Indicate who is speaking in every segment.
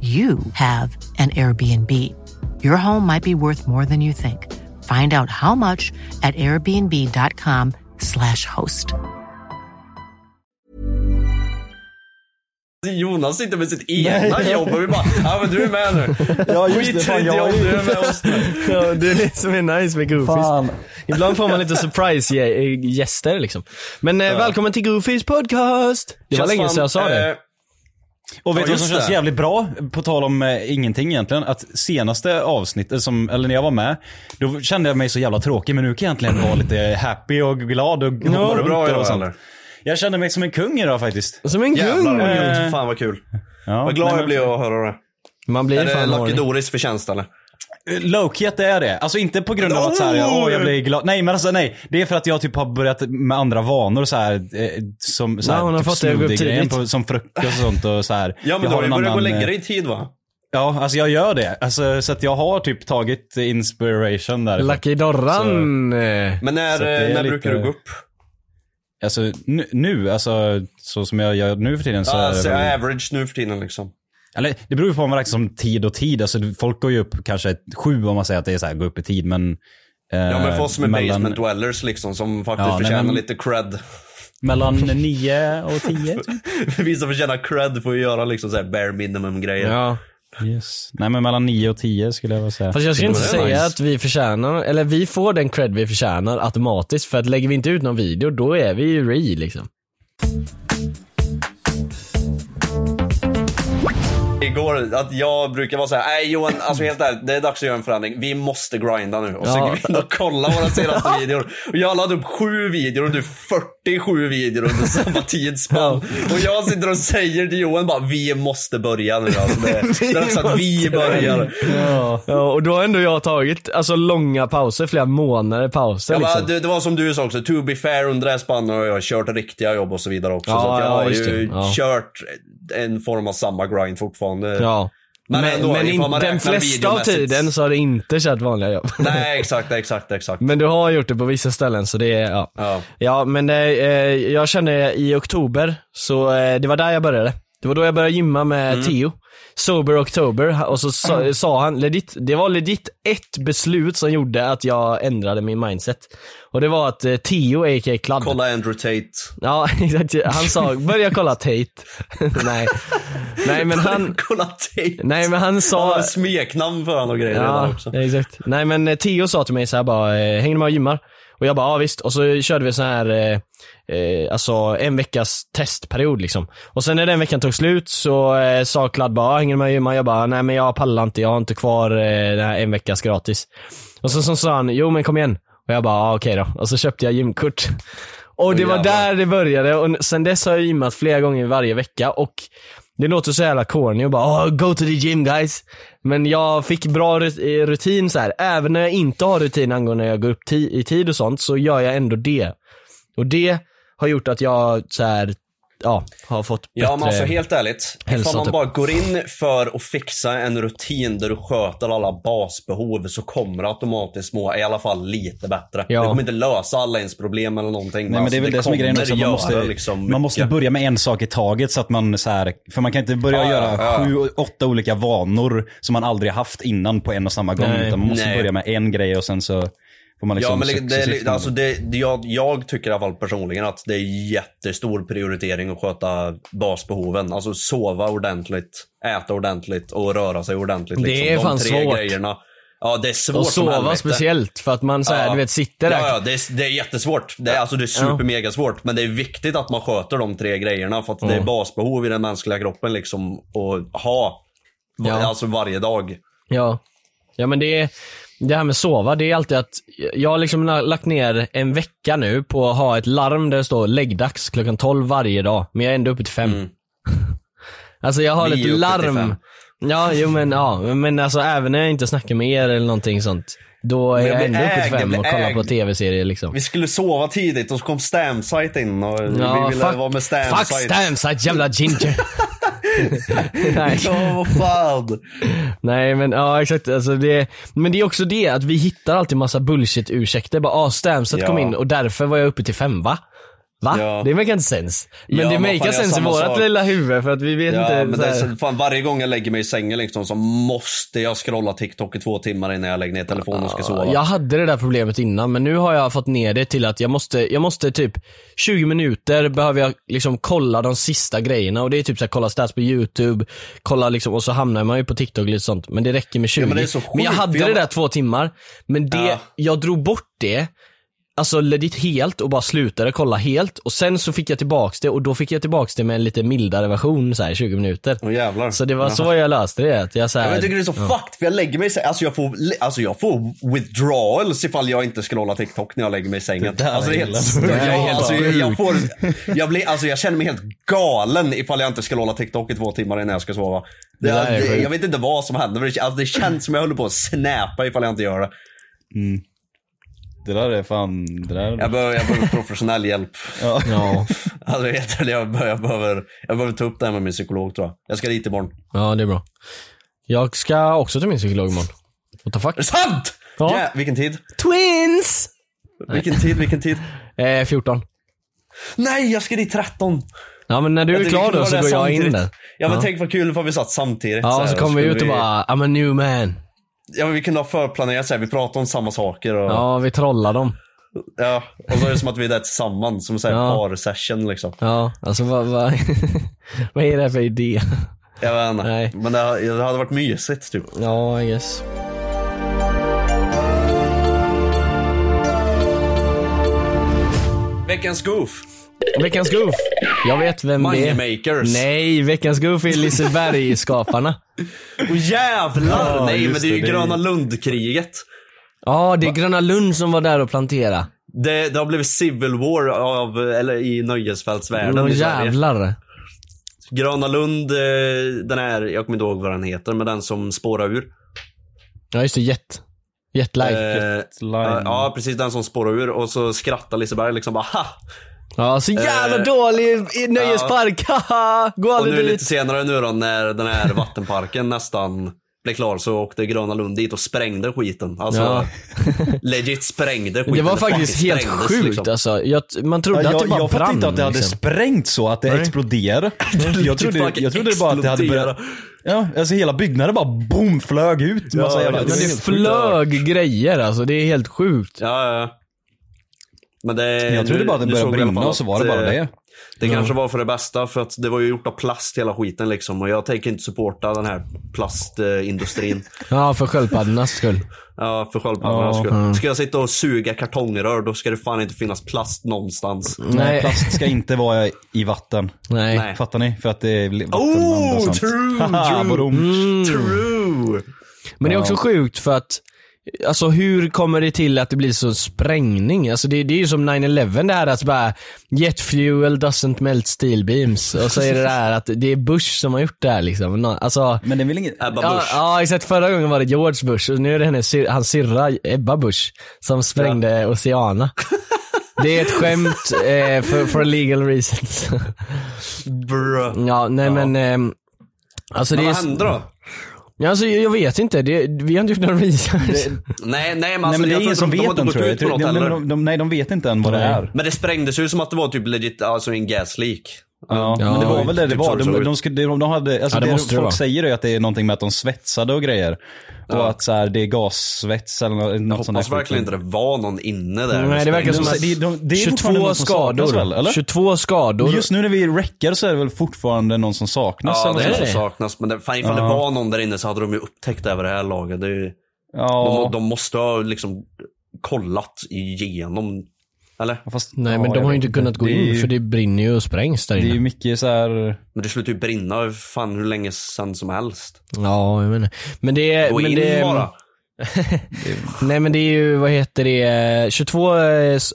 Speaker 1: you have an Airbnb. Your home might be worth more than you think. Find out how much at airbnb.com/slash host.
Speaker 2: Jonas sitter med sitt ena jobb och vi bara, ja men du är med nu.
Speaker 3: Ja, just det,
Speaker 2: Skit i
Speaker 3: fan,
Speaker 2: ditt
Speaker 3: jag
Speaker 2: jobb,
Speaker 3: är
Speaker 2: du
Speaker 3: ju-
Speaker 2: är med oss nu.
Speaker 4: Ja, det är det som är nice med Goofies.
Speaker 3: Fan.
Speaker 4: Ibland får man lite surprise-gäster liksom. Men eh, välkommen till Goofies podcast! Det var
Speaker 2: Känns
Speaker 4: länge
Speaker 2: fan,
Speaker 4: sedan jag sa det.
Speaker 2: eh,
Speaker 3: Och
Speaker 2: Ja,
Speaker 3: vet du vad
Speaker 2: just
Speaker 3: som känns
Speaker 2: det.
Speaker 3: jävligt bra? På tal om eh, ingenting egentligen. Att senaste avsnittet, som, eller när jag var med, då kände jag mig så jävla tråkig. Men nu kan jag äntligen vara lite happy och glad och hoppa
Speaker 2: var det
Speaker 3: runt
Speaker 2: bra idag,
Speaker 3: och sånt.
Speaker 2: eller?
Speaker 3: Jag kände mig som en kung idag faktiskt.
Speaker 4: Som en
Speaker 2: Jävlar
Speaker 4: kung!
Speaker 2: vad
Speaker 3: Eh.
Speaker 2: grymt. Fan vad kul.
Speaker 3: Ja.
Speaker 2: Vad glad
Speaker 3: nej,
Speaker 2: jag
Speaker 3: men-
Speaker 2: blev att höra det.
Speaker 4: Man blir
Speaker 2: Är det
Speaker 4: fan
Speaker 2: Lucky
Speaker 4: horny.
Speaker 2: Doris förtjänst eller?
Speaker 3: Low-key att det är det. Alltså inte på grund av att så här,
Speaker 2: Oh!
Speaker 3: jag, åh, jag blir glad. Nej men alltså nej. Det är för att jag typ har börjat med andra vanor så här, eh, som så här,
Speaker 4: Ja, hon har
Speaker 3: typ
Speaker 4: fått det att gå upp
Speaker 3: snuddegrejen
Speaker 4: tidigt.
Speaker 3: på, som frukost och sånt och så här.
Speaker 2: Ja men
Speaker 3: Jag
Speaker 2: du har ju
Speaker 3: en
Speaker 2: börjat gå och
Speaker 3: annan,
Speaker 2: lägga
Speaker 3: eh,
Speaker 2: dig i tid va?
Speaker 3: Ja, alltså jag gör det. Alltså, så att jag har typ tagit inspiration där.
Speaker 4: Lucky Dorran! eh.
Speaker 2: Men när,
Speaker 3: Så att det är
Speaker 2: när
Speaker 3: lite-
Speaker 2: brukar du gå upp?
Speaker 3: Alltså nu, nu, alltså så som jag gör nu för tiden så är
Speaker 2: Alltså
Speaker 3: det väl,
Speaker 2: average nu för tiden liksom.
Speaker 3: Eller det beror ju på vad man räknar som tid och tid. Alltså folk går ju upp kanske sju om man säger att det är så här, gå upp i tid men... eh,
Speaker 2: Ja men för oss som är
Speaker 3: mellan-
Speaker 2: basement dwellers liksom som faktiskt
Speaker 3: Ja, nej,
Speaker 2: förtjänar
Speaker 3: men-
Speaker 2: lite cred.
Speaker 3: Mellan nio och tio typ.
Speaker 2: Vi som förtjänar cred får ju göra liksom såhär bare minimum grejer.
Speaker 4: Ja.
Speaker 3: Yes. Nej men mellan nio och tio skulle jag vilja säga.
Speaker 4: Fast jag skulle inte
Speaker 2: Det var
Speaker 4: säga
Speaker 2: nice.
Speaker 4: att vi förtjänar, eller vi får den cred vi förtjänar automatiskt för att lägger vi inte ut någon video då är vi ju re liksom.
Speaker 2: Igår, att jag brukar vara såhär, nej Johan, alltså helt ärligt, det är dags att göra en förändring. Vi måste grinda nu. Och så
Speaker 4: Ja.
Speaker 2: gick vi in och kollade våra senaste videor. Och jag laddade upp sju videor och du 47 videor under samma tidsspann. Och jag sitter och säger till Johan bara, vi måste börja nu alltså. Det, det är dags att vi börjar.
Speaker 4: Ja. och då har ändå jag tagit alltså långa pauser, flera månader pauser
Speaker 2: Jag bara,
Speaker 4: liksom.
Speaker 2: det, det var som du sa också, to be fair under det här spannet har jag kört riktiga jobb och så vidare också.
Speaker 4: Ja,
Speaker 2: så att jag
Speaker 4: ja,
Speaker 2: har
Speaker 4: just
Speaker 2: ju
Speaker 4: det. Ja.
Speaker 2: kört en form av samma grind fortfarande.
Speaker 4: Ja.
Speaker 2: Men
Speaker 4: typ. Men,
Speaker 2: ändå,
Speaker 4: men,
Speaker 2: ifall man
Speaker 4: in, den
Speaker 2: räknar
Speaker 4: flesta av
Speaker 2: videomässigt.
Speaker 4: tiden så har det inte kört vanliga jobb.
Speaker 2: Nej, exakt, exakt, exakt.
Speaker 4: Men du har gjort det på vissa ställen så det är, ja.
Speaker 2: Ja.
Speaker 4: Ja men eh, eh, jag kände i oktober, så eh, det var där jag började. Det var då jag började gymma med
Speaker 2: Mm.
Speaker 4: Theo. Sober October, och så sa, sa han, legit, det var legit ett beslut som gjorde att jag ändrade min mindset. Och det var att eh, Theo a.k.a. Kladd.
Speaker 2: Kolla Andrew Tate.
Speaker 4: Ja exakt, han sa, börja kolla Tate. nej. nej men han,
Speaker 2: Kolla Tate.
Speaker 4: nej men han
Speaker 2: Han
Speaker 4: sa,
Speaker 2: har smeknamn för honom och grejer redan också.
Speaker 4: ja, exakt. Nej men eh, Theo sa till mig så här bara, eh, hänger du med och gymmar? Och jag bara, ja visst. Och så körde vi så här, eh, eh, alltså en veckas testperiod liksom. Och sen när den veckan tog slut så eh, sa Kladd bara, "Ja, hänger du med och gymmar? Jag bara, nej men jag pallar inte, jag har inte kvar eh, den här en veckas gratis. Och så, så sa han, jo men kom igen. Och jag bara, ja okej då. Och så köpte jag gymkort. Och det var
Speaker 2: jävlar.
Speaker 4: där det började och sen dess har jag gymmat flera gånger varje vecka och Det låter så jävla corny och bara oh, go to the gym guys. Men jag fick bra rut- eh, rutin så här. även när jag inte har rutin angående när jag går upp ti- i tid och sånt så gör jag ändå det. Och det har gjort att jag så här, ja, har fått bättre...
Speaker 2: Ja men alltså helt ärligt,
Speaker 4: hälsa,
Speaker 2: ifall man
Speaker 4: typ.
Speaker 2: bara går in för att fixa en rutin där du sköter alla basbehov så kommer det automatiskt må i alla fall lite bättre.
Speaker 4: Ja.
Speaker 2: Det kommer inte lösa alla ens problem eller någonting. alltså,
Speaker 3: Nej, men det är väl det, som är grejen
Speaker 2: kommer
Speaker 3: också. att Man måste,
Speaker 2: göra liksom
Speaker 3: man måste
Speaker 2: mycket.
Speaker 3: börja med en sak i taget så att man så här, för man kan inte börja
Speaker 2: Ja,
Speaker 3: göra
Speaker 2: ja, ja.
Speaker 3: sju, åtta olika vanor som man aldrig haft innan på en och samma gång.
Speaker 4: Nej.
Speaker 3: utan man måste
Speaker 2: Nej.
Speaker 3: börja med en grej och sen så får man liksom
Speaker 2: Ja, men det,
Speaker 3: successivt-
Speaker 2: det, alltså det, det- jag, jag tycker i alla fall personligen att det är jättestor prioritering att sköta basbehoven. Alltså sova ordentligt, äta ordentligt och röra sig ordentligt.
Speaker 4: Det
Speaker 2: Liksom.
Speaker 4: är fan
Speaker 2: De tre
Speaker 4: svårt.
Speaker 2: grejerna. Ja, det är svårt
Speaker 4: och
Speaker 2: som
Speaker 4: sova
Speaker 2: helvete.
Speaker 4: speciellt för att man så här,
Speaker 2: Ja.
Speaker 4: du vet sitter där.
Speaker 2: Ja, ja det, är, det är jättesvårt. Det är, alltså, det är super mega svårt. Men det är viktigt att man sköter de tre grejerna för att det är basbehov i den mänskliga kroppen liksom att ha. va-
Speaker 4: Ja.
Speaker 2: Alltså varje dag.
Speaker 4: Ja. Ja men det, det här med sova, det är alltid att jag har liksom la- lagt ner en vecka nu på att ha ett larm där det står läggdags klockan 12 varje dag, men jag är ändå uppe till fem. Alltså jag har
Speaker 2: Mm. Vi är
Speaker 4: ett
Speaker 2: uppe till
Speaker 4: larm.
Speaker 2: fem.
Speaker 4: Ja, jo men ja, men alltså även när jag inte snackar med er eller någonting sånt, då är
Speaker 2: jag
Speaker 4: jag
Speaker 2: blir
Speaker 4: ändå uppe till
Speaker 2: ägd, jag
Speaker 4: fem
Speaker 2: blir
Speaker 4: och kollar på
Speaker 2: ägd.
Speaker 4: tv-serier liksom.
Speaker 2: Vi skulle sova tidigt och så kom Stamsite in och vi ville vara med Stamsite.
Speaker 4: fuck Stamsite jävla ginger. Nej.
Speaker 2: Ja, vad fan.
Speaker 4: Nej men ja exakt, alltså det, men det är också det att vi hittar alltid massa bullshit-ursäkter. Bara ah, Stamset
Speaker 2: Ja.
Speaker 4: kom in och därför var jag uppe till fem va? Va?
Speaker 2: Ja.
Speaker 4: Det make inte sens. Men
Speaker 2: Ja,
Speaker 4: det
Speaker 2: vad fan,
Speaker 4: makear
Speaker 2: jag
Speaker 4: sens i
Speaker 2: samma
Speaker 4: vårat
Speaker 2: sak.
Speaker 4: lilla huvud för att vi vet
Speaker 2: Ja,
Speaker 4: inte.
Speaker 2: men
Speaker 4: så
Speaker 2: det
Speaker 4: här.
Speaker 2: är så, fan, varje gång jag lägger mig i sängen liksom, så måste jag scrolla TikTok i två timmar innan jag lägger ner telefonen och ska sova.
Speaker 4: Jag hade det där problemet innan men nu har jag fått ner det till att jag måste, jag måste typ 20 minuter behöver jag liksom kolla de sista grejerna och det är typ såhär kolla stats på youtube, kolla liksom och så hamnar man ju på TikTok och lite sånt men det räcker med 20.
Speaker 2: men det är så sjukt,
Speaker 4: jag hade
Speaker 2: för jag-
Speaker 4: det där två timmar men det,
Speaker 2: Ja.
Speaker 4: jag drog bort det Alltså legit helt och bara slutade kolla helt och sen så fick jag tillbaks det och då fick jag tillbaks det med en lite mildare version så här 20 minuter.
Speaker 2: Åh, jävlar.
Speaker 4: Så det var
Speaker 2: Jaha.
Speaker 4: så jag löste det. Att jag, så här,
Speaker 2: Ja, men jag tycker det är så fucked för jag lägger mig i sängen, alltså jag får, alltså jag får withdrawals ifall jag inte scrollar TikTok när jag lägger mig i sängen. alltså det är helt,
Speaker 4: Det där är
Speaker 2: ja,
Speaker 4: helt
Speaker 2: alltså jag, jag, får, jag, blir, alltså jag känner mig helt galen ifall jag inte scrollar TikTok i två timmar innan jag ska sova. Det,
Speaker 4: Det där är
Speaker 2: det,
Speaker 4: sjukt.
Speaker 2: jag vet inte vad som händer, men det, alltså det känns som jag håller på att snäpa ifall jag inte gör det.
Speaker 3: det där är fan... Det där
Speaker 2: Jag behöver, jag behöver professionell hjälp.
Speaker 4: ja.
Speaker 2: Alltså helt ärligt, jag, behöver, jag, behöver, jag behöver ta upp det här med min psykolog tror jag. Jag ska dit imorgon.
Speaker 4: Ja, det är bra. Jag ska också till min psykolog imorgon. What the fuck?
Speaker 2: Är det sant?
Speaker 4: Ja.
Speaker 2: Ja. vilken tid?
Speaker 4: Twins!
Speaker 2: Vilken tid? Vilken tid?
Speaker 4: Eh, 14.
Speaker 2: Nej, jag ska dit 13.
Speaker 4: Ja men när du
Speaker 2: Ja,
Speaker 4: är
Speaker 2: det-
Speaker 4: klar
Speaker 2: vi
Speaker 4: då
Speaker 2: kunde
Speaker 4: så
Speaker 2: ha
Speaker 4: går
Speaker 2: det
Speaker 4: jag in
Speaker 2: samtidigt.
Speaker 4: där.
Speaker 2: Ja men
Speaker 4: Ja.
Speaker 2: tänk vad kul för vi satt samtidigt.
Speaker 4: Ja, och
Speaker 2: här,
Speaker 4: så kommer vi
Speaker 2: skulle
Speaker 4: ut och bara I'm a new man.
Speaker 2: Ja men vi kunde ha förplanerat såhär, vi pratade om samma saker och... Ja.
Speaker 4: Ja, vi trollar dem.
Speaker 2: och så är det som att vi är där tillsammans, som såhär
Speaker 4: Ja.
Speaker 2: par-session liksom.
Speaker 4: Ja, alltså vad, vad, vad är det här för idé?
Speaker 2: Jag vet
Speaker 4: Nej.
Speaker 2: inte. Men det, det hade varit mysigt typ.
Speaker 4: Ja, I guess.
Speaker 2: Veckans goof.
Speaker 4: Veckans goof. Jag vet vem Mm, det är.
Speaker 2: Moneymakers.
Speaker 4: Nej, veckans goof är Liseberg-skaparna.
Speaker 2: Och jävlar!
Speaker 3: Ja,
Speaker 2: nej
Speaker 3: just
Speaker 2: men det är ju
Speaker 3: det, det är-
Speaker 2: Gröna Lund-kriget.
Speaker 4: Ja, det är Gröna Lund som var där och plantera.
Speaker 2: Det, det har blivit civil war av, eller i nöjesfältsvärlden
Speaker 4: Åh
Speaker 2: i Sverige.
Speaker 4: jävlar.
Speaker 2: Gröna Lund, eh, den här, jag kommer inte ihåg vad den heter, men den som spårar ur.
Speaker 4: Ja just det, jet. Jetlag.
Speaker 2: Eh,
Speaker 3: Line.
Speaker 2: ja precis, den som spårar ur och så skrattar Liseberg liksom bara ha!
Speaker 4: Ja, så jävla
Speaker 2: Eh,
Speaker 4: dålig i- nöjespark, haha! Gå
Speaker 2: Och
Speaker 4: aldrig
Speaker 2: nu
Speaker 4: dit.
Speaker 2: lite senare nu då när den här vattenparken nästan blev klar så åkte Gröna Lund dit och sprängde skiten. Alltså
Speaker 4: Ja.
Speaker 2: legit sprängde skiten.
Speaker 4: Det var faktiskt helt
Speaker 2: sprängdes,
Speaker 4: sjukt
Speaker 2: liksom.
Speaker 4: alltså. Jag, man trodde
Speaker 3: Ja,
Speaker 4: att det
Speaker 3: jag
Speaker 4: typ bara
Speaker 3: jag
Speaker 4: brann.
Speaker 3: fattade inte att det hade
Speaker 4: liksom.
Speaker 3: sprängt så att det exploderade. Jag trodde,
Speaker 2: fucking
Speaker 3: jag trodde bara att det hade börjat... Ja, alltså hela byggnaden bara boom, flög ut. Massa
Speaker 2: Ja,
Speaker 3: jävla,
Speaker 2: ja,
Speaker 4: Men det flög grejer alltså, det är helt sjukt.
Speaker 2: Ja, ja, ja. Men det,
Speaker 3: Jag trodde
Speaker 2: nu-
Speaker 3: bara att den
Speaker 2: nu
Speaker 3: började
Speaker 2: såg vi i alla
Speaker 3: brinna
Speaker 2: fall
Speaker 3: och så var det
Speaker 2: att,
Speaker 3: bara
Speaker 2: eh,
Speaker 3: det.
Speaker 2: Det kanske var för det bästa för att det var ju gjort av plast hela skiten liksom och jag tänker inte supporta den här plastindustrin.
Speaker 4: Ja, för sköldpaddornas skull.
Speaker 2: Ja, för sköldpaddornas
Speaker 3: Mm.
Speaker 2: skull. Ska jag sitta och suga kartongrör då ska det fan inte finnas plast någonstans.
Speaker 3: Nej,
Speaker 4: Nej.
Speaker 3: plast ska inte vara i vatten.
Speaker 4: Nej.
Speaker 2: Nej.
Speaker 3: Fattar ni? För att det är vatten
Speaker 2: Oh,
Speaker 3: andas sånt.
Speaker 2: true, Mm.
Speaker 3: Haha,
Speaker 2: true.
Speaker 3: vadå?
Speaker 2: True!
Speaker 4: Men det är också sjukt för att Alltså hur kommer det till att det blir så sprängning? Alltså det, det är ju som 9-11 det här att bara Jet fuel doesn't melt steel beams. Och så är det det här att det är Bush som har gjort det här liksom. Nå- Alltså,
Speaker 3: Men det är väl inget...
Speaker 2: Ebba
Speaker 4: ja,
Speaker 2: Busch.
Speaker 4: ja exakt, förra gången var det George Bush och nu är det hennes, sy- hans syrra Ebba Bush som sprängde Oceana. Det är ett skämt eh, för, for legal reasons.
Speaker 2: Bra.
Speaker 3: Mm.
Speaker 4: ja, nej men ehm, Alltså det
Speaker 2: Men
Speaker 4: är,
Speaker 2: vad hände då?
Speaker 4: Ja, alltså, jag jag vet inte, det, vi har inte gjort någon research.
Speaker 2: Nej, nej men,
Speaker 3: nej
Speaker 2: alltså,
Speaker 3: men det är
Speaker 2: jag
Speaker 3: ingen som
Speaker 2: tror inte de,
Speaker 3: vet
Speaker 2: de har
Speaker 3: än
Speaker 2: inte
Speaker 3: tror
Speaker 2: gått
Speaker 3: jag.
Speaker 2: ut på något
Speaker 3: Jag tror-
Speaker 2: heller.
Speaker 3: de, de, de, nej, de vet inte än vad det är.
Speaker 2: Men det sprängdes ju som att det var typ legit, alltså en gasleak.
Speaker 3: Ja, men det var väl det det
Speaker 2: typ så
Speaker 3: var.
Speaker 2: det
Speaker 3: De,
Speaker 2: såg
Speaker 3: de,
Speaker 2: ut.
Speaker 3: skulle- de, de hade, alltså
Speaker 4: Ja, det
Speaker 3: det
Speaker 4: måste det
Speaker 3: folk
Speaker 4: vara.
Speaker 3: säger är ju att det är någonting med att de svetsade och grejer. Och att så här, det är gassvets eller nå- något sånt där.
Speaker 2: Hoppas verkligen inte det var någon inne där.
Speaker 4: Nej, det verkar
Speaker 3: De-
Speaker 4: som att
Speaker 3: de- de- det är fortfarande
Speaker 4: 22
Speaker 3: någon som saknas
Speaker 4: skador.
Speaker 3: väl, eller?
Speaker 4: 22 skador.
Speaker 3: Just nu när vi räcker så är det väl fortfarande någon som saknas?
Speaker 2: Ja,
Speaker 3: eller
Speaker 2: det är
Speaker 4: är
Speaker 3: så.
Speaker 2: det som
Speaker 4: det.
Speaker 2: saknas. Men det, fan, ifall det var någon där inne så hade de ju upptäckt det över det här laget. Det är ju,
Speaker 3: ja.
Speaker 2: de, de måste ha liksom kollat igenom. Eller?
Speaker 3: Fast,
Speaker 4: Nej men
Speaker 3: ja,
Speaker 4: de
Speaker 3: jag
Speaker 4: har ju
Speaker 3: vet
Speaker 4: inte kunnat gå
Speaker 3: Det är
Speaker 4: in
Speaker 3: ju-
Speaker 4: för det brinner ju och sprängs där
Speaker 3: Det är ju
Speaker 4: inne.
Speaker 3: mycket så här...
Speaker 2: Men det slutar ju brinna fan hur länge sedan som helst.
Speaker 4: Ja, jag menar. Men det är...
Speaker 2: Gå
Speaker 4: men
Speaker 2: in
Speaker 4: det,
Speaker 2: bara.
Speaker 4: Nej men det är ju, vad heter det, 22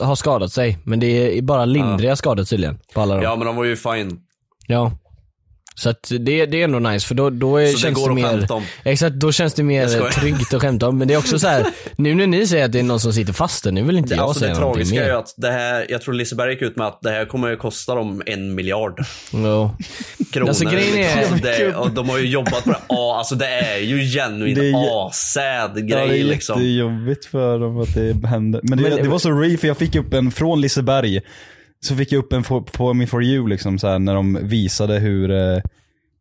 Speaker 4: har skadat sig. Men det är bara lindriga skador tydligen. På alla dem.
Speaker 2: Ja
Speaker 4: Ja.
Speaker 2: men de var ju fine.
Speaker 4: Så att det, det är ändå nice för då, då är,
Speaker 2: det
Speaker 4: känns
Speaker 2: går
Speaker 4: det
Speaker 2: att
Speaker 4: mer...
Speaker 2: skämta om.
Speaker 4: Exakt, då känns det mer
Speaker 2: skojar.
Speaker 4: tryggt att skämta om. Men det är också så här, nu när ni säger att det är någon som sitter fast där, nu vill inte jag
Speaker 2: alltså
Speaker 4: säga
Speaker 2: det
Speaker 4: någonting
Speaker 2: tragiska
Speaker 4: mer.
Speaker 2: är ju att det här, jag tror Liseberg gick ut med att det här kommer ju kosta dem en miljard
Speaker 4: Ja.
Speaker 2: kronor.
Speaker 4: Alltså, grejen är-
Speaker 2: liksom. det, och de har ju jobbat på det. Ja, alltså det är ju genuint
Speaker 3: Det är ju-
Speaker 2: asad grej
Speaker 3: Ja, det är
Speaker 2: liksom.
Speaker 3: jättejobbigt för dem att det händer. Men det, det var så re, för jag fick upp en från Liseberg. Så fick jag upp en på, på min For You liksom så här, när de visade hur, eh,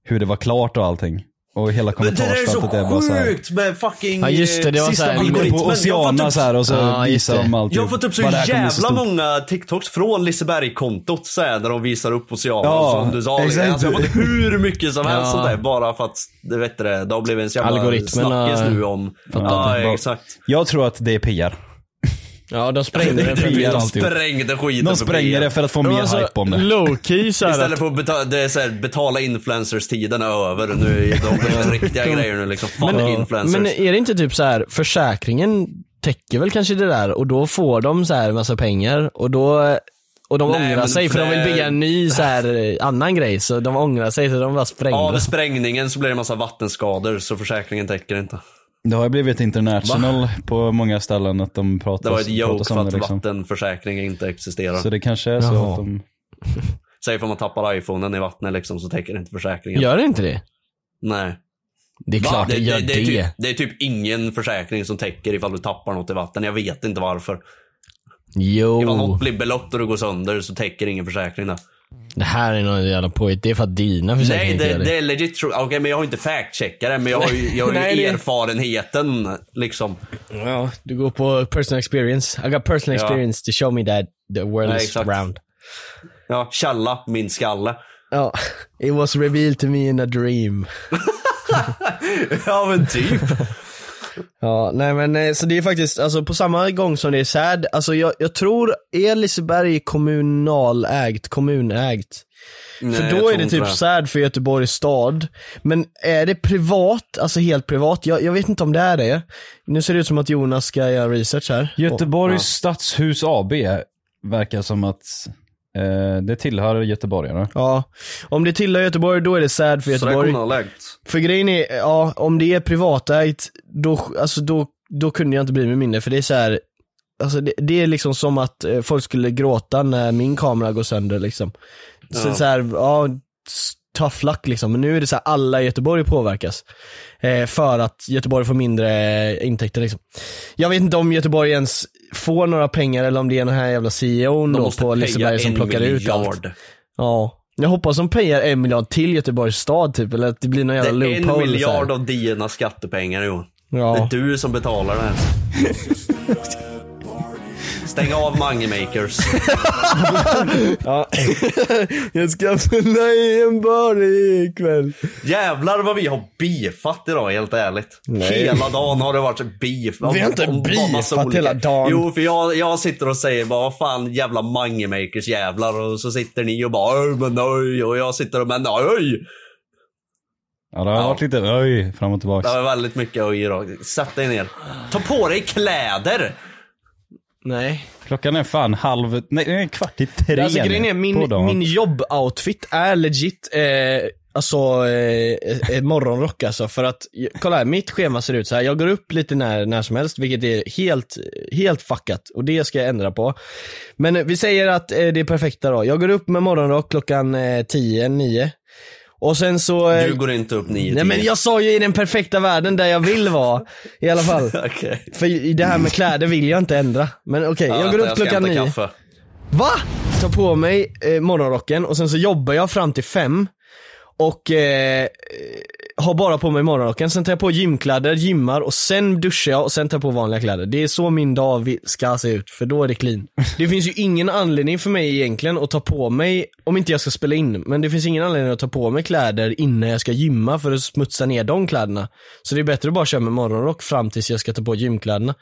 Speaker 3: hur det var klart och allting. Och hela
Speaker 2: Men det där är så
Speaker 3: kommentarsfältet är bara så här.
Speaker 2: sjukt med fucking... eh,
Speaker 4: Ja, just det, det var
Speaker 2: sista
Speaker 4: så här-
Speaker 3: Bilden
Speaker 2: algoritmen.
Speaker 3: på Oceana så här och så
Speaker 4: Ja, just
Speaker 3: visar de
Speaker 4: det.
Speaker 3: allt.
Speaker 2: Jag har fått upp så
Speaker 3: Bara det här kommer bli så
Speaker 2: jävla
Speaker 3: stort.
Speaker 2: många TikToks från Liseberg-kontot så här, där de visar upp Oceana
Speaker 3: Ja,
Speaker 2: som du sa. Alltså,
Speaker 3: exakt.
Speaker 2: jag har fått hur mycket som helst
Speaker 4: Ja.
Speaker 2: sånt där bara för att det, vet du, det det har blivit en så jävla
Speaker 4: Algoritmerna-
Speaker 2: snackis nu om... Ja,
Speaker 3: Bara-
Speaker 2: exakt.
Speaker 3: Jag tror att det är PR.
Speaker 4: ja, de sprängde den för
Speaker 3: Det är
Speaker 2: De
Speaker 3: alltihop.
Speaker 2: sprängde skiten
Speaker 3: De
Speaker 2: för
Speaker 3: spränger
Speaker 2: PR.
Speaker 3: det för att få
Speaker 4: Det
Speaker 3: mer
Speaker 4: var
Speaker 2: alltså,
Speaker 4: så
Speaker 3: hype om det.
Speaker 4: Low-key såhär
Speaker 2: Istället för att betala, det är så här, betala influencers-tiden är över. Nu är de blir det riktiga grejer nu liksom. Fan influencers.
Speaker 4: Men är det inte typ så här, försäkringen täcker väl kanske det där och då får de så här massa pengar och då och de
Speaker 2: Nej,
Speaker 4: ångrar
Speaker 2: men
Speaker 4: sig för
Speaker 2: för
Speaker 4: de vill
Speaker 2: det-
Speaker 4: bygga en ny så här eh, annan grej så de ångrar sig så de bara sprängde.
Speaker 2: Av sprängningen så blir det en massa vattenskador så försäkringen täcker inte.
Speaker 3: Det har ju blivit international på många ställen att de pratar
Speaker 2: Det var ett joke
Speaker 3: pratas
Speaker 2: för
Speaker 3: om
Speaker 2: att
Speaker 3: det liksom.
Speaker 2: vattenförsäkring inte existerar.
Speaker 3: Så det kanske är så
Speaker 4: Jaha.
Speaker 3: att de...
Speaker 2: Säg om man tappar iPhonen i vattnet liksom så täcker inte försäkringen.
Speaker 4: Gör det inte det?
Speaker 2: Nej.
Speaker 4: Det är
Speaker 2: Va?
Speaker 4: klart det, gör det.
Speaker 2: det, är typ, det är typ ingen försäkring som täcker ifall du tappar något i vatten. Jag vet inte varför. Ifall
Speaker 4: Jo,
Speaker 2: något blir belott och det går sönder så täcker ingen försäkring det.
Speaker 4: det här är någon jävla påhitt. Det är för att dina försäkringar
Speaker 2: Nej,
Speaker 4: inte
Speaker 2: det,
Speaker 4: gör det.
Speaker 2: det är legit tro- Okej, men jag har inte fact-checkat det, men jag har ju, jag har ju
Speaker 4: Nej, det-
Speaker 2: erfarenheten liksom.
Speaker 4: Ja, du går på personal experience. I got personal
Speaker 2: Ja.
Speaker 4: experience to show me that the world
Speaker 2: Nej,
Speaker 4: is
Speaker 2: exakt.
Speaker 4: round.
Speaker 2: Ja, källa, min skalle.
Speaker 4: Ja, it was revealed to me in a dream.
Speaker 2: Ja, men typ.
Speaker 4: Ja, nej men eh, så det är faktiskt, alltså på samma gång som det är sad, alltså jag, jag tror, är Liseberg kommunalägt, kommunägt?
Speaker 2: Nej,
Speaker 4: för
Speaker 2: jag
Speaker 4: då
Speaker 2: tror
Speaker 4: är det
Speaker 2: inte
Speaker 4: typ sad för Göteborgs stad. Men är det privat, alltså helt privat? Jag, jag vet inte om det är det. Nu ser det ut som att Jonas ska göra research här.
Speaker 3: Göteborgs stadshus AB verkar som att eh, det tillhör göteborgarna.
Speaker 4: Ja, om det tillhör Göteborg då är det sad för
Speaker 2: Så det
Speaker 4: Göteborg.
Speaker 2: kommer lägt.
Speaker 4: För grejen är, ja, om det är privatägt, då, alltså, då, då kunde jag inte bli mig mindre för det är så här. Alltså det, det är liksom som att eh, folk skulle gråta när min kamera går sönder liksom. Så,
Speaker 2: Ja.
Speaker 4: så här, ja, s- tough luck liksom. Men nu är det så här, alla i Göteborg påverkas. Eh, för att Göteborg får mindre eh, intäkter liksom. Jag vet inte om Göteborg ens får några pengar eller om det är den här jävla CEOn
Speaker 2: De
Speaker 4: då
Speaker 2: måste
Speaker 4: på
Speaker 2: peja
Speaker 4: Liseberg som
Speaker 2: en
Speaker 4: plockar ut allt.
Speaker 2: miljard.
Speaker 4: Ja. Jag hoppas de pejar en miljard till Göteborgs stad typ, eller att det blir någon
Speaker 2: Det
Speaker 4: jävla
Speaker 2: är en
Speaker 4: loophole. så här.
Speaker 2: miljard av dina skattepengar Johan.
Speaker 4: Ja.
Speaker 2: Det är du som betalar det här. Stäng av moneymakers.
Speaker 4: Jag ska fylla i en bar ikväll.
Speaker 2: Jävlar vad vi har beefat idag helt ärligt. Hela dagen har det varit beef.
Speaker 4: Vi har inte
Speaker 2: Om bara massa
Speaker 4: beefat
Speaker 2: olika-
Speaker 4: hela dagen.
Speaker 2: Jo, för jag, jag sitter och säger bara vad fan jävla moneymakers jävlar och så sitter ni och bara "Oj, men oj och jag sitter och men oj.
Speaker 3: Ja, det har varit lite öj fram och tillbaks.
Speaker 2: Det var väldigt mycket att ge rakt. Sätt dig ner. Ta på dig kläder!
Speaker 4: Nej.
Speaker 3: Klockan är fan halv, nej den är kvart i tre
Speaker 4: Alltså grejen är,
Speaker 3: på dagen.
Speaker 4: min, min jobboutfit är legit eh, Alltså eh, eh, morgonrock alltså för att eh, kolla här, mitt schema ser ut så här. jag går upp lite när, när som helst vilket är helt, helt fuckat och det ska jag ändra på. Men eh, vi säger att eh, det är perfekta då. Jag går upp med morgonrock klockan eh, 10, 9 och sen så... eh,
Speaker 2: Du går inte upp nio
Speaker 4: Nej
Speaker 2: till
Speaker 4: men
Speaker 2: tio.
Speaker 4: jag sa ju i den perfekta världen där jag vill vara i alla fall.
Speaker 2: Okej.
Speaker 4: För i det här med kläder vill jag inte ändra. Men okej,
Speaker 2: Ja,
Speaker 4: jag går
Speaker 2: vänta,
Speaker 4: upp
Speaker 2: ska
Speaker 4: klockan
Speaker 2: hämta
Speaker 4: nio.
Speaker 2: kaffe.
Speaker 4: Va? Tar på mig eh, morgonrocken och sen så jobbar jag fram till fem. Och eh, eh, har bara på mig morgonrocken, sen tar jag på gymkläder, gymmar och sen duschar jag och sen tar jag på vanliga kläder. Det är så min dag vi- ska se ut, för då är det clean. Det finns ju ingen anledning för mig egentligen att ta på mig, om inte jag ska spela in, men det finns ingen anledning att ta på mig kläder innan jag ska gymma för att smutsa ner de kläderna. Så det är bättre att bara köra med morgonrock fram tills jag ska ta på gymkläderna.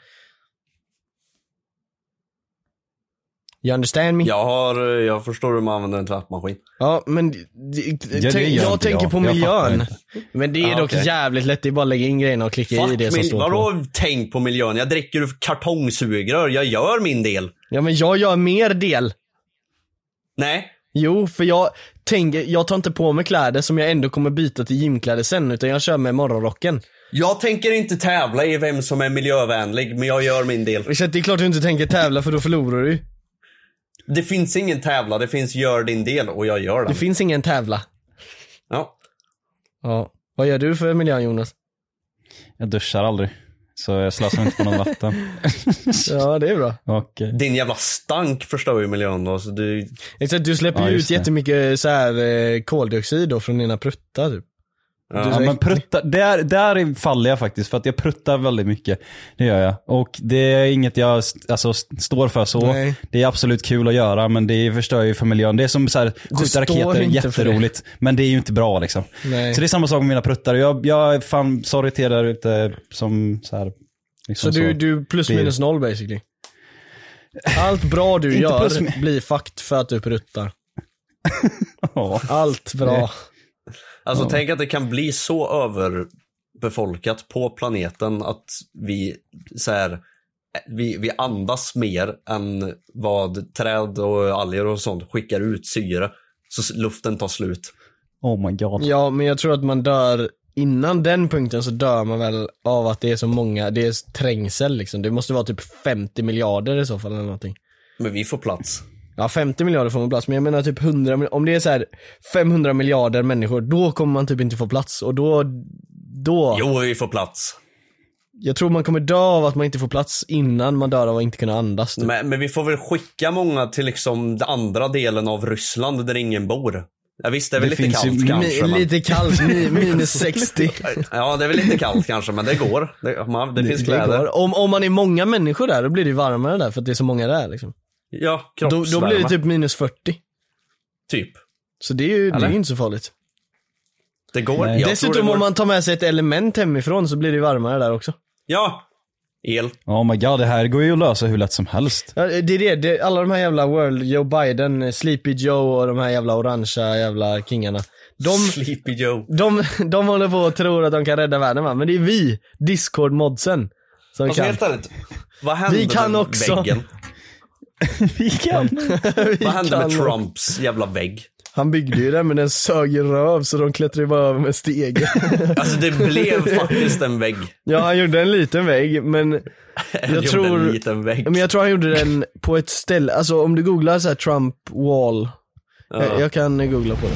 Speaker 4: You understand me?
Speaker 2: Jag har, jag förstår hur man använder en tvättmaskin.
Speaker 4: Ja men d- d-
Speaker 3: det
Speaker 4: tänk,
Speaker 3: gör
Speaker 4: jag
Speaker 3: inte
Speaker 4: tänker
Speaker 3: jag.
Speaker 4: på
Speaker 3: Jag
Speaker 4: miljön.
Speaker 3: fattar Ah,
Speaker 4: Men det är
Speaker 2: Ja,
Speaker 4: dock
Speaker 2: okej.
Speaker 4: jävligt lätt, det är bara att lägga in grejerna och klicka i
Speaker 2: Fuck
Speaker 4: det som
Speaker 2: min,
Speaker 4: står på.
Speaker 2: vadå tänk på miljön? Jag dricker ur kartongsugrör, jag gör min del.
Speaker 4: Ja men jag gör mer del.
Speaker 2: Nej.
Speaker 4: Jo, för jag tänker, jag tar inte på mig kläder som jag ändå kommer byta till gymkläder sen utan jag kör med morgonrocken.
Speaker 2: Jag tänker inte tävla i vem som är miljövänlig, men jag gör min del.
Speaker 4: Så att det är klart du inte tänker tävla för då förlorar du ju.
Speaker 2: Det finns ingen tävla, det finns gör din del och jag gör
Speaker 4: Det
Speaker 2: den.
Speaker 4: finns ingen tävla.
Speaker 2: Ja.
Speaker 4: Ja. Vad gör du för miljön Jonas?
Speaker 3: Jag duschar aldrig. Så jag slösar inte på någon vatten.
Speaker 4: Ja det är bra.
Speaker 3: Och, eh,
Speaker 2: Din jävla stank förstör ju miljön då, så du...
Speaker 4: Exakt, du släpper
Speaker 3: Ja,
Speaker 4: ju
Speaker 3: just
Speaker 4: ut
Speaker 3: det.
Speaker 4: jättemycket så här, eh, koldioxid då från dina pruttar typ.
Speaker 3: ja,
Speaker 4: Du-
Speaker 3: men prutta, där, där faller jag faktiskt, för att jag pruttar väldigt mycket. Det gör jag. Och det är inget jag st- alltså, st- står för så.
Speaker 4: Nej.
Speaker 3: Det är absolut kul att göra, men det förstör ju för miljön. Det är som så här, skjuta
Speaker 4: står
Speaker 3: raketer,
Speaker 4: inte för det.
Speaker 3: jätteroligt. Men det är ju inte bra liksom.
Speaker 4: Nej.
Speaker 3: Så det är samma sak med mina pruttar. Jag, jag är fan sorry till er där ute som så här.
Speaker 4: Så
Speaker 3: Liksom
Speaker 4: du, du plus
Speaker 3: Det är-
Speaker 4: minus noll basically? Allt bra du
Speaker 3: Inte plus
Speaker 4: gör
Speaker 3: mi-
Speaker 4: blir fucked för att du pruttar.
Speaker 3: Ja.
Speaker 4: Allt bra.
Speaker 2: Alltså tänk att det kan bli så överbefolkat på planeten att vi så här, eh, vi, vi andas mer än vad träd och alger och sånt skickar ut syre. Så s- luften tar slut.
Speaker 3: Oh my god.
Speaker 4: Ja, men jag tror att man dör Innan den punkten så dör man väl av att det är så många, det är trängsel liksom. Det måste vara typ 50 miljarder i så fall eller någonting.
Speaker 2: Men vi får plats.
Speaker 4: Ja 50 miljarder får man plats, men jag menar typ 100 mil- om det är så här 500 miljarder människor, då kommer man typ inte få plats och då, då,
Speaker 2: Jo, vi får plats.
Speaker 4: jag tror man kommer dö av att man inte får plats innan man dör av att inte kunna andas. Typ.
Speaker 2: Men, men vi får väl skicka många till liksom den andra delen av Ryssland där ingen bor. Ja, visst, det är väl
Speaker 3: Det
Speaker 2: lite
Speaker 3: finns ju
Speaker 2: kallt kanske.
Speaker 4: Mi-
Speaker 2: men...
Speaker 4: lite kallt, mi- minus 60.
Speaker 2: Ja, det är väl lite kallt kanske, men det går. Det, man, det finns
Speaker 4: Det
Speaker 2: kläder.
Speaker 4: går. Om, om man är många människor där, då blir det ju varmare där för att det är så många där liksom.
Speaker 2: Ja,
Speaker 4: då,
Speaker 2: kroppsvärme.
Speaker 4: då blir det typ minus 40.
Speaker 2: typ.
Speaker 4: Så det är ju det är
Speaker 2: Eller?
Speaker 4: ju inte så farligt.
Speaker 2: Det går. Jag tror det
Speaker 4: Dessutom
Speaker 2: går.
Speaker 4: om man tar med sig ett element hemifrån så blir det ju varmare där också.
Speaker 2: Ja! El.
Speaker 3: Oh my god, det här går ju att lösa hur lätt som helst.
Speaker 4: Ja, det är det, det alla de här jävla World, Joe Biden, Sleepy Joe och de här jävla orangea jävla kingarna. De,
Speaker 2: Sleepy Joe.
Speaker 4: de, de håller på och tror att de kan rädda världen va, men det är vi, Discord-modsen, som
Speaker 2: Alltså
Speaker 4: kan.
Speaker 2: helt ärligt, vad hände
Speaker 4: Vi kan
Speaker 2: med
Speaker 4: också.
Speaker 2: väggen?
Speaker 3: Vi kan.
Speaker 4: Vi
Speaker 2: Vad hände med
Speaker 4: kan-
Speaker 2: Trumps jävla vägg?
Speaker 4: Han byggde ju den men den sög ju röv så de klättrade ju bara över med stegen.
Speaker 2: Alltså det blev faktiskt en vägg.
Speaker 4: ja han gjorde en liten vägg men jag
Speaker 2: gjorde
Speaker 4: tror,
Speaker 2: en liten vägg.
Speaker 4: men jag tror han gjorde den på ett ställe, alltså om du googlar så här Trump wall. Jag, jag kan googla på det.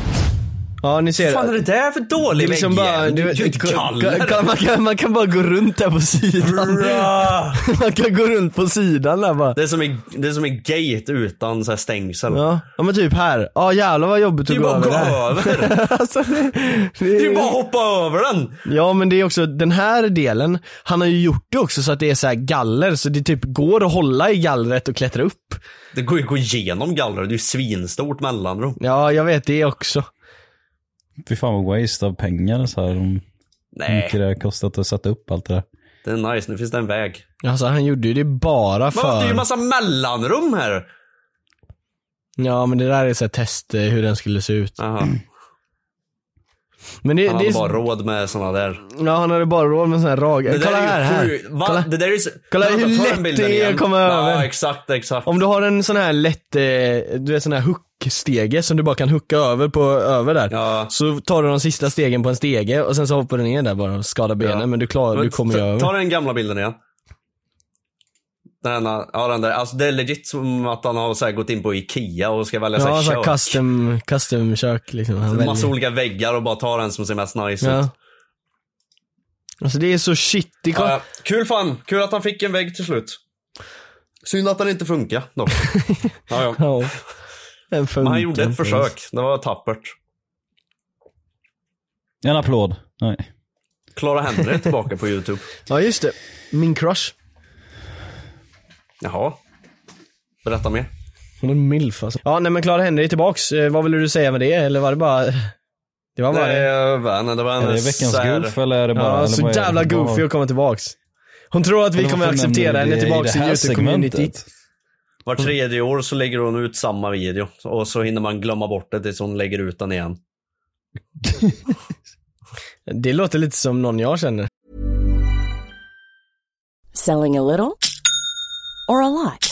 Speaker 4: Ja ni ser.
Speaker 2: Vad fan är det där för dålig
Speaker 4: är liksom
Speaker 2: vägg?
Speaker 4: bara,
Speaker 2: igen? det
Speaker 4: du
Speaker 2: är
Speaker 4: vet,
Speaker 2: ju ett
Speaker 4: kan,
Speaker 2: galler.
Speaker 4: kan, man, kan, man kan bara gå runt där på sidan.
Speaker 2: Bra.
Speaker 4: Man kan gå runt på sidan där bara.
Speaker 2: Det är som en, det är som en gate utan så här stängsel.
Speaker 4: Ja, ja men typ här. Ja jävlar vad jobbigt
Speaker 2: Det
Speaker 4: att
Speaker 2: är
Speaker 4: gå
Speaker 2: bara att
Speaker 4: över
Speaker 2: gå
Speaker 4: där.
Speaker 2: över.
Speaker 4: Alltså, det,
Speaker 2: Det är ju bara att hoppa över den.
Speaker 4: Ja men det är också, den här delen, han har ju gjort det också så att det är så här galler, så det typ går att hålla i gallret och klättra upp.
Speaker 2: Det går ju att gå igenom gallret. Det är ju svinstort mellanrum.
Speaker 4: Ja, jag vet det också.
Speaker 3: Fy fan vad waste av pengar så här. om Hur
Speaker 2: Nej,
Speaker 3: mycket det har kostat att sätta upp allt det där.
Speaker 2: det är nice. Nu finns det en väg.
Speaker 4: Alltså han gjorde ju det bara
Speaker 2: Men det är ju
Speaker 4: för...
Speaker 2: massa mellanrum här.
Speaker 4: Ja men det där är så här test eh, hur den skulle se ut.
Speaker 2: Aha.
Speaker 4: Men Mm. det,
Speaker 2: Han
Speaker 4: det
Speaker 2: hade
Speaker 4: är,
Speaker 2: bara råd med sådana där.
Speaker 4: Ja, han hade bara råd med sån här rag.
Speaker 2: Det
Speaker 4: Kolla
Speaker 2: där
Speaker 4: här,
Speaker 2: är ju
Speaker 4: här.
Speaker 2: sjukt. Va?
Speaker 4: Kolla.
Speaker 2: Det där är så...
Speaker 4: Kolla
Speaker 2: Vänta,
Speaker 4: hur
Speaker 2: ta den
Speaker 4: lätt
Speaker 2: bilden
Speaker 4: det är
Speaker 2: igen.
Speaker 4: att komma över.
Speaker 2: Ja, exakt, exakt.
Speaker 4: Om du har en sån här lätt, eh, du vet sån här hookstege som du bara kan hooka över på, över där.
Speaker 2: Ja.
Speaker 4: Så tar du de sista stegen på en stege och sen så hoppar du ner där bara och skadar benen
Speaker 2: Ja.
Speaker 4: men du klarar, du
Speaker 2: Men
Speaker 4: kommer ju
Speaker 2: ta,
Speaker 4: över.
Speaker 2: ta den gamla bilden igen. Den, här- ja, den där. Alltså, det är legit som att han har så här, gått in på Ikea och ska välja
Speaker 4: ja,
Speaker 2: så
Speaker 4: så
Speaker 2: här,
Speaker 4: här
Speaker 2: kök.
Speaker 4: Alltså, custom, custom kök liksom. Han
Speaker 2: Massa
Speaker 4: väljer.
Speaker 2: olika väggar och bara ta den som ser mest nice ut.
Speaker 4: Ja. Alltså det är så shit. Det
Speaker 2: Ja,
Speaker 4: ja.
Speaker 2: ja. kul fan, kul att han fick en vägg till slut. Synd att den inte funkar dock. ja, ja.
Speaker 4: Ja. Den
Speaker 2: Men
Speaker 4: funkar
Speaker 2: han gjorde ett
Speaker 4: inte ens.
Speaker 2: försök, det var tappert.
Speaker 3: En applåd. Nej.
Speaker 2: Clara Henry är tillbaka på youtube.
Speaker 4: Ja just det. Min crush.
Speaker 2: Jaha. Berätta mer.
Speaker 4: Hon är milf alltså. Ja nej men Clara Henry är tillbaks. Eh, Vad ville du säga med det? Eller var det bara... Det var bara
Speaker 2: Nej,
Speaker 4: det.
Speaker 2: jag vet inte, det var en
Speaker 3: Är det veckans
Speaker 2: så här-
Speaker 3: goof eller är det bara...
Speaker 4: Ja,
Speaker 3: eller
Speaker 4: så
Speaker 3: vad är det?
Speaker 4: jävla goofy att komma tillbaks. Hon tror att vi
Speaker 3: Eller
Speaker 4: kommer
Speaker 3: varför
Speaker 4: acceptera
Speaker 3: nämner vi
Speaker 4: henne
Speaker 3: det
Speaker 4: tillbaks i
Speaker 3: det här
Speaker 4: youtube-communityt.
Speaker 3: segmentet?
Speaker 2: Var tredje år så lägger hon ut samma video och så hinner man glömma bort det tills hon lägger ut den igen.
Speaker 4: Det låter lite som någon jag känner.
Speaker 5: Selling a little or a lot?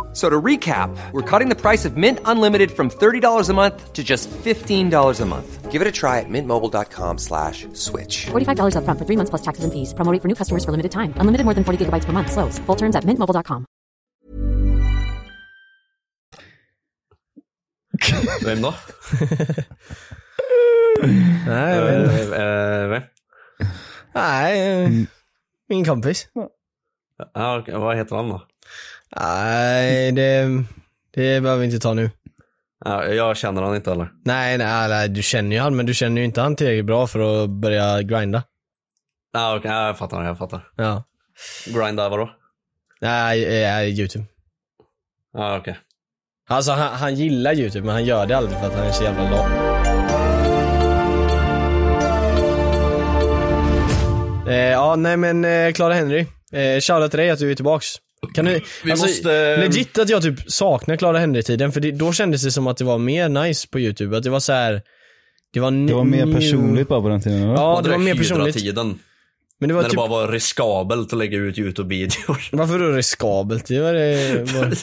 Speaker 6: So to recap, we're cutting the price of Mint Unlimited from $30 a month to just $15 a month. Give it a try at mintmobile.com slash switch.
Speaker 7: $45 upfront for three months plus taxes and fees. Promo rate for new customers for limited time. Unlimited more than 40 gigabytes per month. Slows. Full terms at mintmobile.com.
Speaker 2: Vem då?
Speaker 4: Nej,
Speaker 2: Eh,
Speaker 4: men,
Speaker 2: eh, vem?
Speaker 4: nej.
Speaker 2: Mm.
Speaker 4: eh, Min kompis.
Speaker 2: Ja, okej, vad heter han då?
Speaker 4: Nej, det, det behöver vi inte ta nu.
Speaker 2: Ja, jag känner han inte heller.
Speaker 4: Nej, nej, nej, du känner ju han, men du känner ju inte han tillräckligt bra för att börja grinda.
Speaker 2: Ja, okej, ja, jag fattar, jag fattar.
Speaker 4: Ja.
Speaker 2: Grinda vadå?
Speaker 4: Nej, eh, YouTube.
Speaker 2: Ja, okej.
Speaker 4: Alltså han, han gillar YouTube, men han gör det aldrig för att han är så jävla lat. Eh, ja, nej men eh, Clara Henry. Eh, shoutout till dig att du är tillbaks. Kan du, alltså,
Speaker 2: Vi måste-
Speaker 4: Legit att jag typ saknar Clara Henry-tiden, för det, då kändes det som att det var mer nice på YouTube. Att det var så här. Det var,
Speaker 3: Det var
Speaker 4: new-
Speaker 3: mer personligt bara på den tiden va?
Speaker 4: Ja, det var
Speaker 2: där
Speaker 4: mer personligt.
Speaker 2: Hydra-tiden.
Speaker 4: Men det var
Speaker 2: När det
Speaker 4: typ,
Speaker 2: bara var riskabelt att lägga ut YouTube-videor.
Speaker 4: varför då riskabelt? Det var det... Var...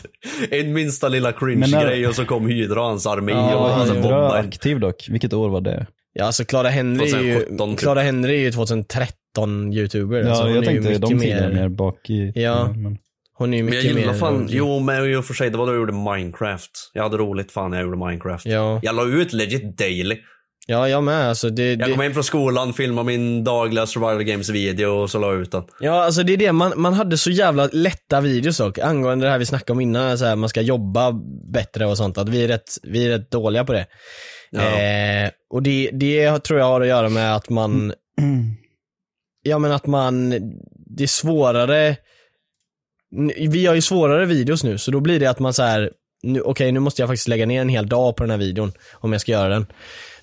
Speaker 2: en minsta lilla
Speaker 3: Men när-
Speaker 2: cringe-grej och så kom Hydra och hans armé
Speaker 4: Ja,
Speaker 2: och
Speaker 3: Var
Speaker 2: hans
Speaker 3: Hydra
Speaker 2: bombar.
Speaker 3: aktiv dock? Vilket år var det?
Speaker 4: Ja, alltså Clara Henry är ju,
Speaker 2: 2017 typ.
Speaker 4: Clara Henry är ju 2013 youtuber.
Speaker 3: Ja,
Speaker 4: alltså, hon
Speaker 3: jag
Speaker 4: är ju
Speaker 3: tänkte de
Speaker 4: mycket
Speaker 3: tiderna mer bak i...
Speaker 4: Ja.
Speaker 3: men...
Speaker 4: Hon är ju
Speaker 2: Men jag
Speaker 4: mycket mer...
Speaker 2: gillar fan,
Speaker 4: rolig.
Speaker 2: jo men i och för sig det var då jag gjorde Minecraft. Jag hade roligt fan när jag gjorde Minecraft.
Speaker 4: Ja.
Speaker 2: Jag la ut legit daily.
Speaker 4: ja, jag med alltså. Det,
Speaker 2: Jag kom
Speaker 4: det,
Speaker 2: hem från skolan, filmade min dagliga survival games video och så la jag ut den.
Speaker 4: ja, alltså det är det. Man, man hade så jävla lätta videos dock. Angående det här vi snackade om innan, så här, man ska jobba bättre och sånt. Att vi är rätt, vi är rätt dåliga på det.
Speaker 2: Ja.
Speaker 4: Eh, och det, det tror jag har att göra med att man... Ja, men att man... Det är svårare... N- Vi har ju svårare videos nu, så då blir det att man så här, nu, okej nu måste jag faktiskt lägga ner en hel dag på den här videon om jag ska göra den.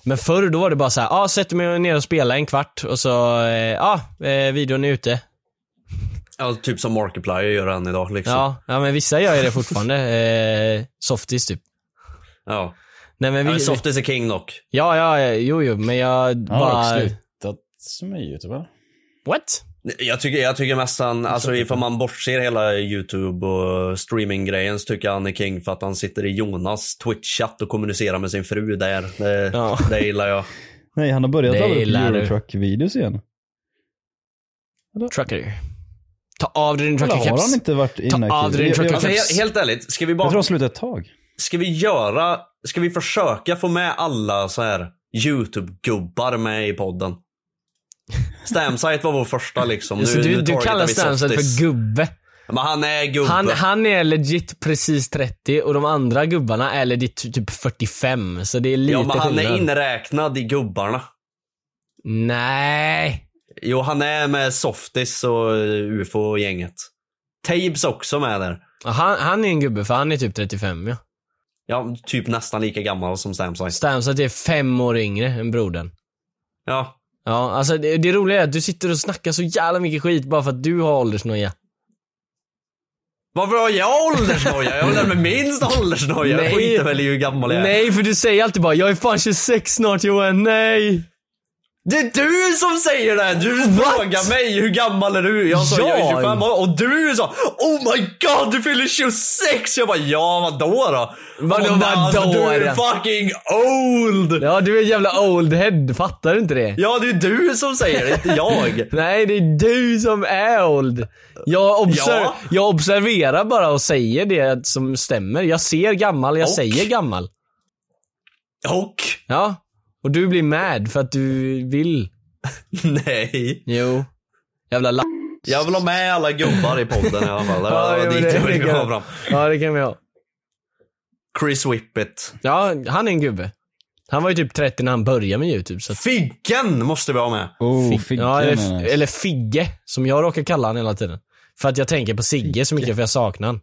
Speaker 4: Men förr då var det bara så här, ja ah, sätter mig ner och spelar en kvart och så, ja eh, ah, eh, videon är ute.
Speaker 2: Ja, typ som Markiplier gör än idag liksom. Ja.
Speaker 4: Ja, ja men vissa gör ju det fortfarande. eh, softies typ.
Speaker 2: ja.
Speaker 4: Nej men vi,
Speaker 2: men soft is a king dock.
Speaker 4: ja, ja, ja, jo, jo, men jag
Speaker 3: Han har
Speaker 4: bara...
Speaker 3: dock slutat som är youtuber.
Speaker 4: What?
Speaker 2: Jag tycker, jag tycker mest han, alltså ifall man bortser hela YouTube och streaminggrejen så tycker jag han är king för att han sitter i Jonas Twitch-chatt och kommunicerar med sin fru där. Det,
Speaker 4: Ja.
Speaker 2: det gillar jag.
Speaker 3: Nej, han har börjat
Speaker 4: Det
Speaker 3: ladda upp
Speaker 4: gillar du.
Speaker 3: Eurotruck-videos igen.
Speaker 4: Trucker.
Speaker 8: Ta av dig din
Speaker 3: Eller har
Speaker 8: truckerkeps.
Speaker 3: han inte varit inaktiv?
Speaker 8: av dig din
Speaker 3: Jag- jag-
Speaker 8: trucker
Speaker 2: Alltså,
Speaker 4: Typ.
Speaker 8: caps.
Speaker 3: jag-
Speaker 2: he- helt ärligt, ska vi
Speaker 3: Jag tror
Speaker 2: bara,
Speaker 3: han slutade ett tag.
Speaker 2: ska vi göra, ska vi försöka få med alla så här YouTube-gubbar med i podden? Stamsite var vår första liksom.
Speaker 4: Så du, du
Speaker 2: targetar
Speaker 4: kallar
Speaker 2: vi
Speaker 4: Stansad
Speaker 2: softies.
Speaker 4: för gubbe.
Speaker 2: Men han är gubbe.
Speaker 4: Han, han är legit precis 30 och de andra gubbarna är legit typ 45. Så det är lite
Speaker 2: ja, men han är
Speaker 4: skillnad.
Speaker 2: inräknad i gubbarna.
Speaker 4: Nej.
Speaker 2: Jo, han är med Softis och UFO-gänget. Tabes också med där.
Speaker 4: Ja, Han, han är en gubbe för han är typ 35 ja.
Speaker 2: Ja, typ nästan lika gammal som Stamsite.
Speaker 4: Stamsat är fem år yngre än brodern.
Speaker 2: Ja,
Speaker 4: Ja, alltså det, det roliga är att du sitter och snackar så jävla mycket skit bara för att du har åldersnoja.
Speaker 2: Varför har jag åldersnoja? Jag har väl med minst åldersnoja? Jag
Speaker 4: Nej.
Speaker 2: skiter väl i hur gammal jag är.
Speaker 4: Nej, för du säger alltid bara 'Jag är fan 26 snart Johan, nej!'
Speaker 2: Det är du som säger det! Du frågar mig hur gammal är du? Jag sa jag är
Speaker 4: Jag?
Speaker 2: 25 år och du sa Oh my god du fyller 26! Jag bara ja vadå då?
Speaker 4: Vadå,
Speaker 2: Och nej, alltså,
Speaker 4: vadå,
Speaker 2: Du är
Speaker 4: Adam?
Speaker 2: fucking old!
Speaker 4: Ja, du är en jävla old head, fattar du inte det?
Speaker 2: Ja det är du som säger det, inte jag.
Speaker 4: Nej, det är du som är old. Jag, obser-
Speaker 2: Ja.
Speaker 4: jag observerar bara och säger det som stämmer. Jag ser gammal, jag
Speaker 2: Och?
Speaker 4: säger gammal.
Speaker 2: Och
Speaker 4: Ja. Och du blir mad för att du vill.
Speaker 2: nej.
Speaker 4: Jo. Jävla la-
Speaker 2: Jag vill ha med alla gubbar i podden i alla fall. Det var
Speaker 4: Ja, jo,
Speaker 2: dit
Speaker 4: det-
Speaker 2: jag ville
Speaker 4: det kan-
Speaker 2: komma fram.
Speaker 4: Ja, det kan vi ha.
Speaker 2: Chris Whippet.
Speaker 4: Ja, han är en gubbe. Han var ju typ 30 när han började med YouTube. Så att
Speaker 2: Figgen måste vi ha med.
Speaker 3: Oh,
Speaker 4: Fig-
Speaker 3: fick
Speaker 4: ja,
Speaker 3: jag
Speaker 4: eller,
Speaker 3: menar jag.
Speaker 4: eller Figge, som jag råkar kalla han hela tiden. För att jag tänker på Sigge så mycket för jag saknar han.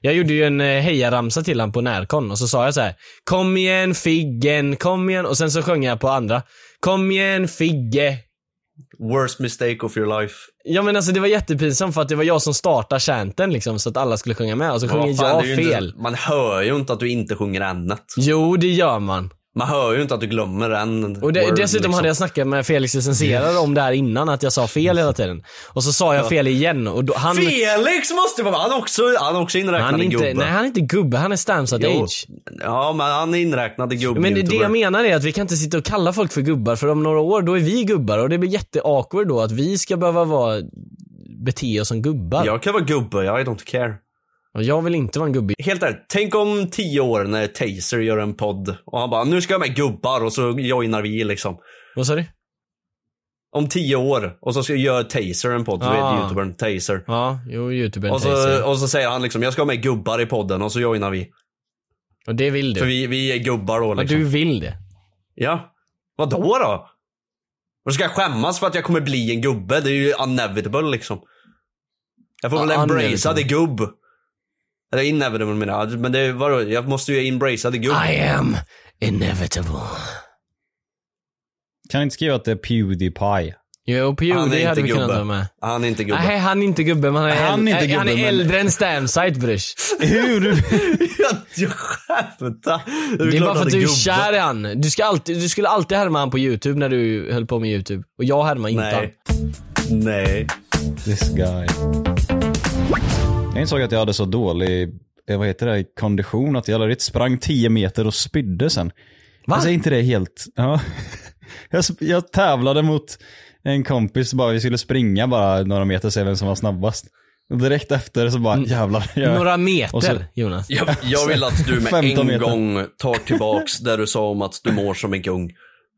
Speaker 4: Jag gjorde ju en eh, hejaramsa till han på Närkon och så sa jag så här: Kom igen Figgen, kom igen. Och sen så sjöng jag på andra. Kom igen Figge.
Speaker 2: Worst mistake of your life.
Speaker 4: Ja men alltså det var jättepinsamt för att det var jag som startade chanten liksom så att alla skulle sjunga med och så
Speaker 2: Men
Speaker 4: sjunger
Speaker 2: vad fan,
Speaker 4: jag
Speaker 2: det är ju
Speaker 4: fel.
Speaker 2: Inte, man hör ju inte att du inte sjunger ämnet.
Speaker 4: Jo det gör man.
Speaker 2: Man hör ju inte att du glömmer en
Speaker 4: Och de,
Speaker 2: word,
Speaker 4: dessutom
Speaker 2: liksom.
Speaker 4: hade jag snackat med Felix licensierare om det här innan att jag sa fel hela tiden. Och så sa jag fel igen och då, han...
Speaker 2: Felix måste vara han är också, han är också inräknad
Speaker 4: Han är
Speaker 2: i
Speaker 4: inte,
Speaker 2: gubbe.
Speaker 4: nej han är inte gubbe, han är stamsat
Speaker 2: Jo.
Speaker 4: age.
Speaker 2: Ja men han är inräknad i gubbe
Speaker 4: Men det, det jag
Speaker 2: menar.
Speaker 4: menar är att vi kan inte sitta och kalla folk för gubbar för om några år då är vi gubbar och det blir jätte awkward då att vi ska behöva vara, bete oss som gubbar.
Speaker 2: Jag kan vara gubbe, I don't care.
Speaker 4: Och jag vill inte vara en gubbe.
Speaker 2: Helt ärligt, tänk om tio år när Taser gör en podd och han bara nu ska jag med gubbar och så joinar vi liksom.
Speaker 4: Vad sa du?
Speaker 2: Om tio år och så ska gör Taser en podd, du
Speaker 4: Ah.
Speaker 2: vet youtubern Taser.
Speaker 4: Ja, jo youtubern
Speaker 2: Och så,
Speaker 4: Taser.
Speaker 2: och så säger han liksom jag ska ha med gubbar i podden och så joinar vi.
Speaker 4: Och det vill du.
Speaker 2: För vi, vi är gubbar då
Speaker 4: Ja,
Speaker 2: liksom.
Speaker 4: du vill det.
Speaker 2: Ja. Vadå då? Och ska jag skämmas för att jag kommer bli en gubbe? Det är ju inevitable liksom. Jag får väl
Speaker 4: Ja,
Speaker 2: embracea
Speaker 4: inevitable.
Speaker 2: the gubb. Eller inevitable menar jag. Men det, vadå? Jag måste ju embracea the gubb.
Speaker 4: I am inevitable.
Speaker 3: Kan jag inte skriva att det är Pewdiepie?
Speaker 4: Jo, Pewdie hade
Speaker 2: inte
Speaker 4: vi kunnat
Speaker 2: gubbe.
Speaker 4: vara med.
Speaker 2: Han är inte gubbe.
Speaker 4: Nej, han är inte gubbe, men han är,
Speaker 3: Han är inte
Speaker 4: äl- han
Speaker 3: gubbe,
Speaker 4: är
Speaker 3: men-
Speaker 4: äldre än Stamsite brors.
Speaker 3: Hur?
Speaker 2: jag, jag skämtar.
Speaker 4: Det är
Speaker 2: klart
Speaker 4: bara för att
Speaker 2: han
Speaker 4: du är
Speaker 2: gubbe.
Speaker 4: kär i han. Du, ska alltid, du skulle alltid härma han på youtube när du höll på med youtube. Och jag härmar inte han.
Speaker 2: Nej. Nej.
Speaker 3: This guy. Jag insåg att jag hade så dålig, eh, vad heter det, kondition att jag aldrig riktigt sprang 10 meter och spydde sen. Va? Jag säger inte det helt. Ja. Jag, sp- jag tävlade mot en kompis, bara, vi skulle springa bara några meter och se vem som var snabbast. Och direkt efter så bara jävlar. Jag,
Speaker 4: Några
Speaker 3: Och så-
Speaker 4: meter, Jonas.
Speaker 2: Jag, jag vill att du med
Speaker 3: 15
Speaker 2: en
Speaker 3: meter.
Speaker 2: gång tar tillbaks där du sa om att du mår som en kung.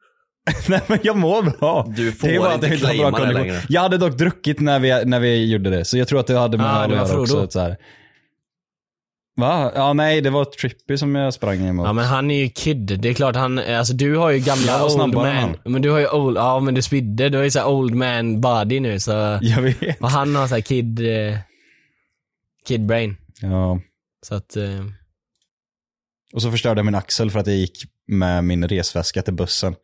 Speaker 3: Nej men jag mår bra.
Speaker 2: Du får
Speaker 3: är bara att
Speaker 2: inte
Speaker 3: jag har
Speaker 2: claima det
Speaker 3: kondition.
Speaker 2: längre.
Speaker 3: Jag hade dock druckit när vi, när vi gjorde det, så jag tror att det hade med
Speaker 4: Ah,
Speaker 3: det här
Speaker 4: det var
Speaker 3: att göra
Speaker 4: Frodo.
Speaker 3: också. att Så här. Va? Ja nej, det var Trippy som jag sprang emot.
Speaker 4: Ja men han är ju kid. Det är klart han, alltså du har ju
Speaker 3: Jag
Speaker 4: gamla
Speaker 3: var
Speaker 4: old
Speaker 3: snabbare än
Speaker 4: man. Men du har ju old, ja men du spydde. Du har ju såhär old man body nu så.
Speaker 3: Jag vet.
Speaker 4: Och han har såhär kid, eh, kid brain.
Speaker 3: Ja.
Speaker 4: Så att, eh,
Speaker 3: Och så förstörde jag min axel för att jag gick med min resväska till bussen.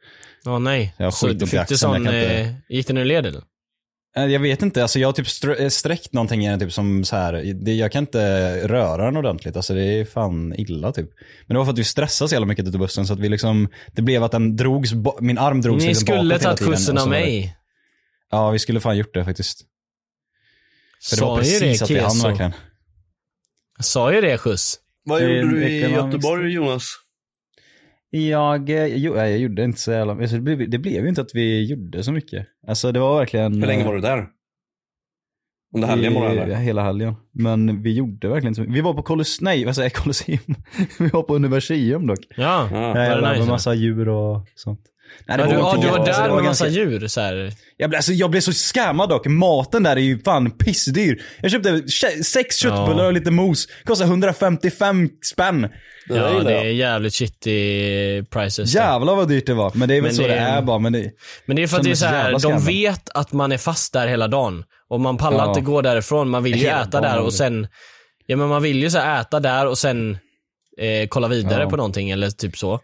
Speaker 4: åh nej.
Speaker 3: Jag har
Speaker 4: så
Speaker 3: skit
Speaker 4: du
Speaker 3: upp i
Speaker 4: fick du
Speaker 3: axeln, jag
Speaker 4: sån,
Speaker 3: kan inte-
Speaker 4: eh, gick den ur led eller?
Speaker 3: Eh, Jag vet inte, alltså jag har typ str- eh, sträckt någonting i den typ som så här. Det, jag kan inte röra den ordentligt, alltså det är fan illa typ. Men det var för att vi stressade så jävla mycket till bussen så att vi liksom, det blev att den drogs, ba- min arm drogs
Speaker 4: Ni
Speaker 3: liksom
Speaker 4: skulle
Speaker 3: bakåt hela
Speaker 4: tagit
Speaker 3: tiden,
Speaker 4: skjutsen
Speaker 3: och
Speaker 4: av
Speaker 3: så var det-
Speaker 4: mig.
Speaker 3: Ja, vi skulle fan gjort det faktiskt. För det var
Speaker 4: Sa ju
Speaker 3: precis
Speaker 4: det
Speaker 3: att vi hann
Speaker 4: Keso.
Speaker 3: verkligen.
Speaker 4: Sa ju det skjuts.
Speaker 2: Vad
Speaker 3: Det är
Speaker 2: gjorde du i
Speaker 3: mycket man
Speaker 2: Göteborg Jonas?
Speaker 3: Jag, eh, jo, nej, jag gjorde inte så jävla, alltså, det, blev, det blev ju inte att vi gjorde så mycket. Alltså det var verkligen...
Speaker 2: Hur länge var du där? Under helgen bara
Speaker 3: I-
Speaker 2: eller?
Speaker 3: eh, Hela helgen. Men vi gjorde verkligen inte så mycket. Vi var på Colosseum, nej vad säger jag, Colosseum? vi var på Universium dock.
Speaker 4: Ja.
Speaker 2: Ja.
Speaker 3: Nej,
Speaker 4: det
Speaker 3: med
Speaker 4: nice?
Speaker 3: massa djur och sånt. Nej, det
Speaker 4: Men du, ja,
Speaker 3: inte
Speaker 4: du var
Speaker 3: jätte-
Speaker 4: där med
Speaker 3: ganska-
Speaker 4: massa djur så här.
Speaker 3: Jag blev, alltså, jag blev så scammad dock. Maten där är ju fan pissdyr. Jag köpte ke- sex köttbullar och lite mos. Kostar 155 spänn.
Speaker 2: där
Speaker 4: Ja,
Speaker 2: gillar
Speaker 4: det
Speaker 2: jag.
Speaker 4: är jävligt shitty prices. där.
Speaker 3: Jävlar vad dyrt det var. Men det är väl
Speaker 4: Men
Speaker 3: så
Speaker 4: det
Speaker 3: det
Speaker 4: är-
Speaker 3: är bara. Men det...
Speaker 4: Men det är för
Speaker 3: Som
Speaker 4: att det är
Speaker 3: är
Speaker 4: så
Speaker 3: så
Speaker 4: här,
Speaker 3: jävla
Speaker 4: de
Speaker 3: skammen.
Speaker 4: vet att man är fast där hela dagen. Och man pallar
Speaker 3: Ja.
Speaker 4: inte gå därifrån, man vill ju
Speaker 3: Hela
Speaker 4: äta
Speaker 3: dagen
Speaker 4: där
Speaker 3: var
Speaker 4: och
Speaker 3: det.
Speaker 4: sen... Ja men man vill ju så här äta där och sen eh, kolla vidare
Speaker 3: Ja.
Speaker 4: på någonting eller typ så.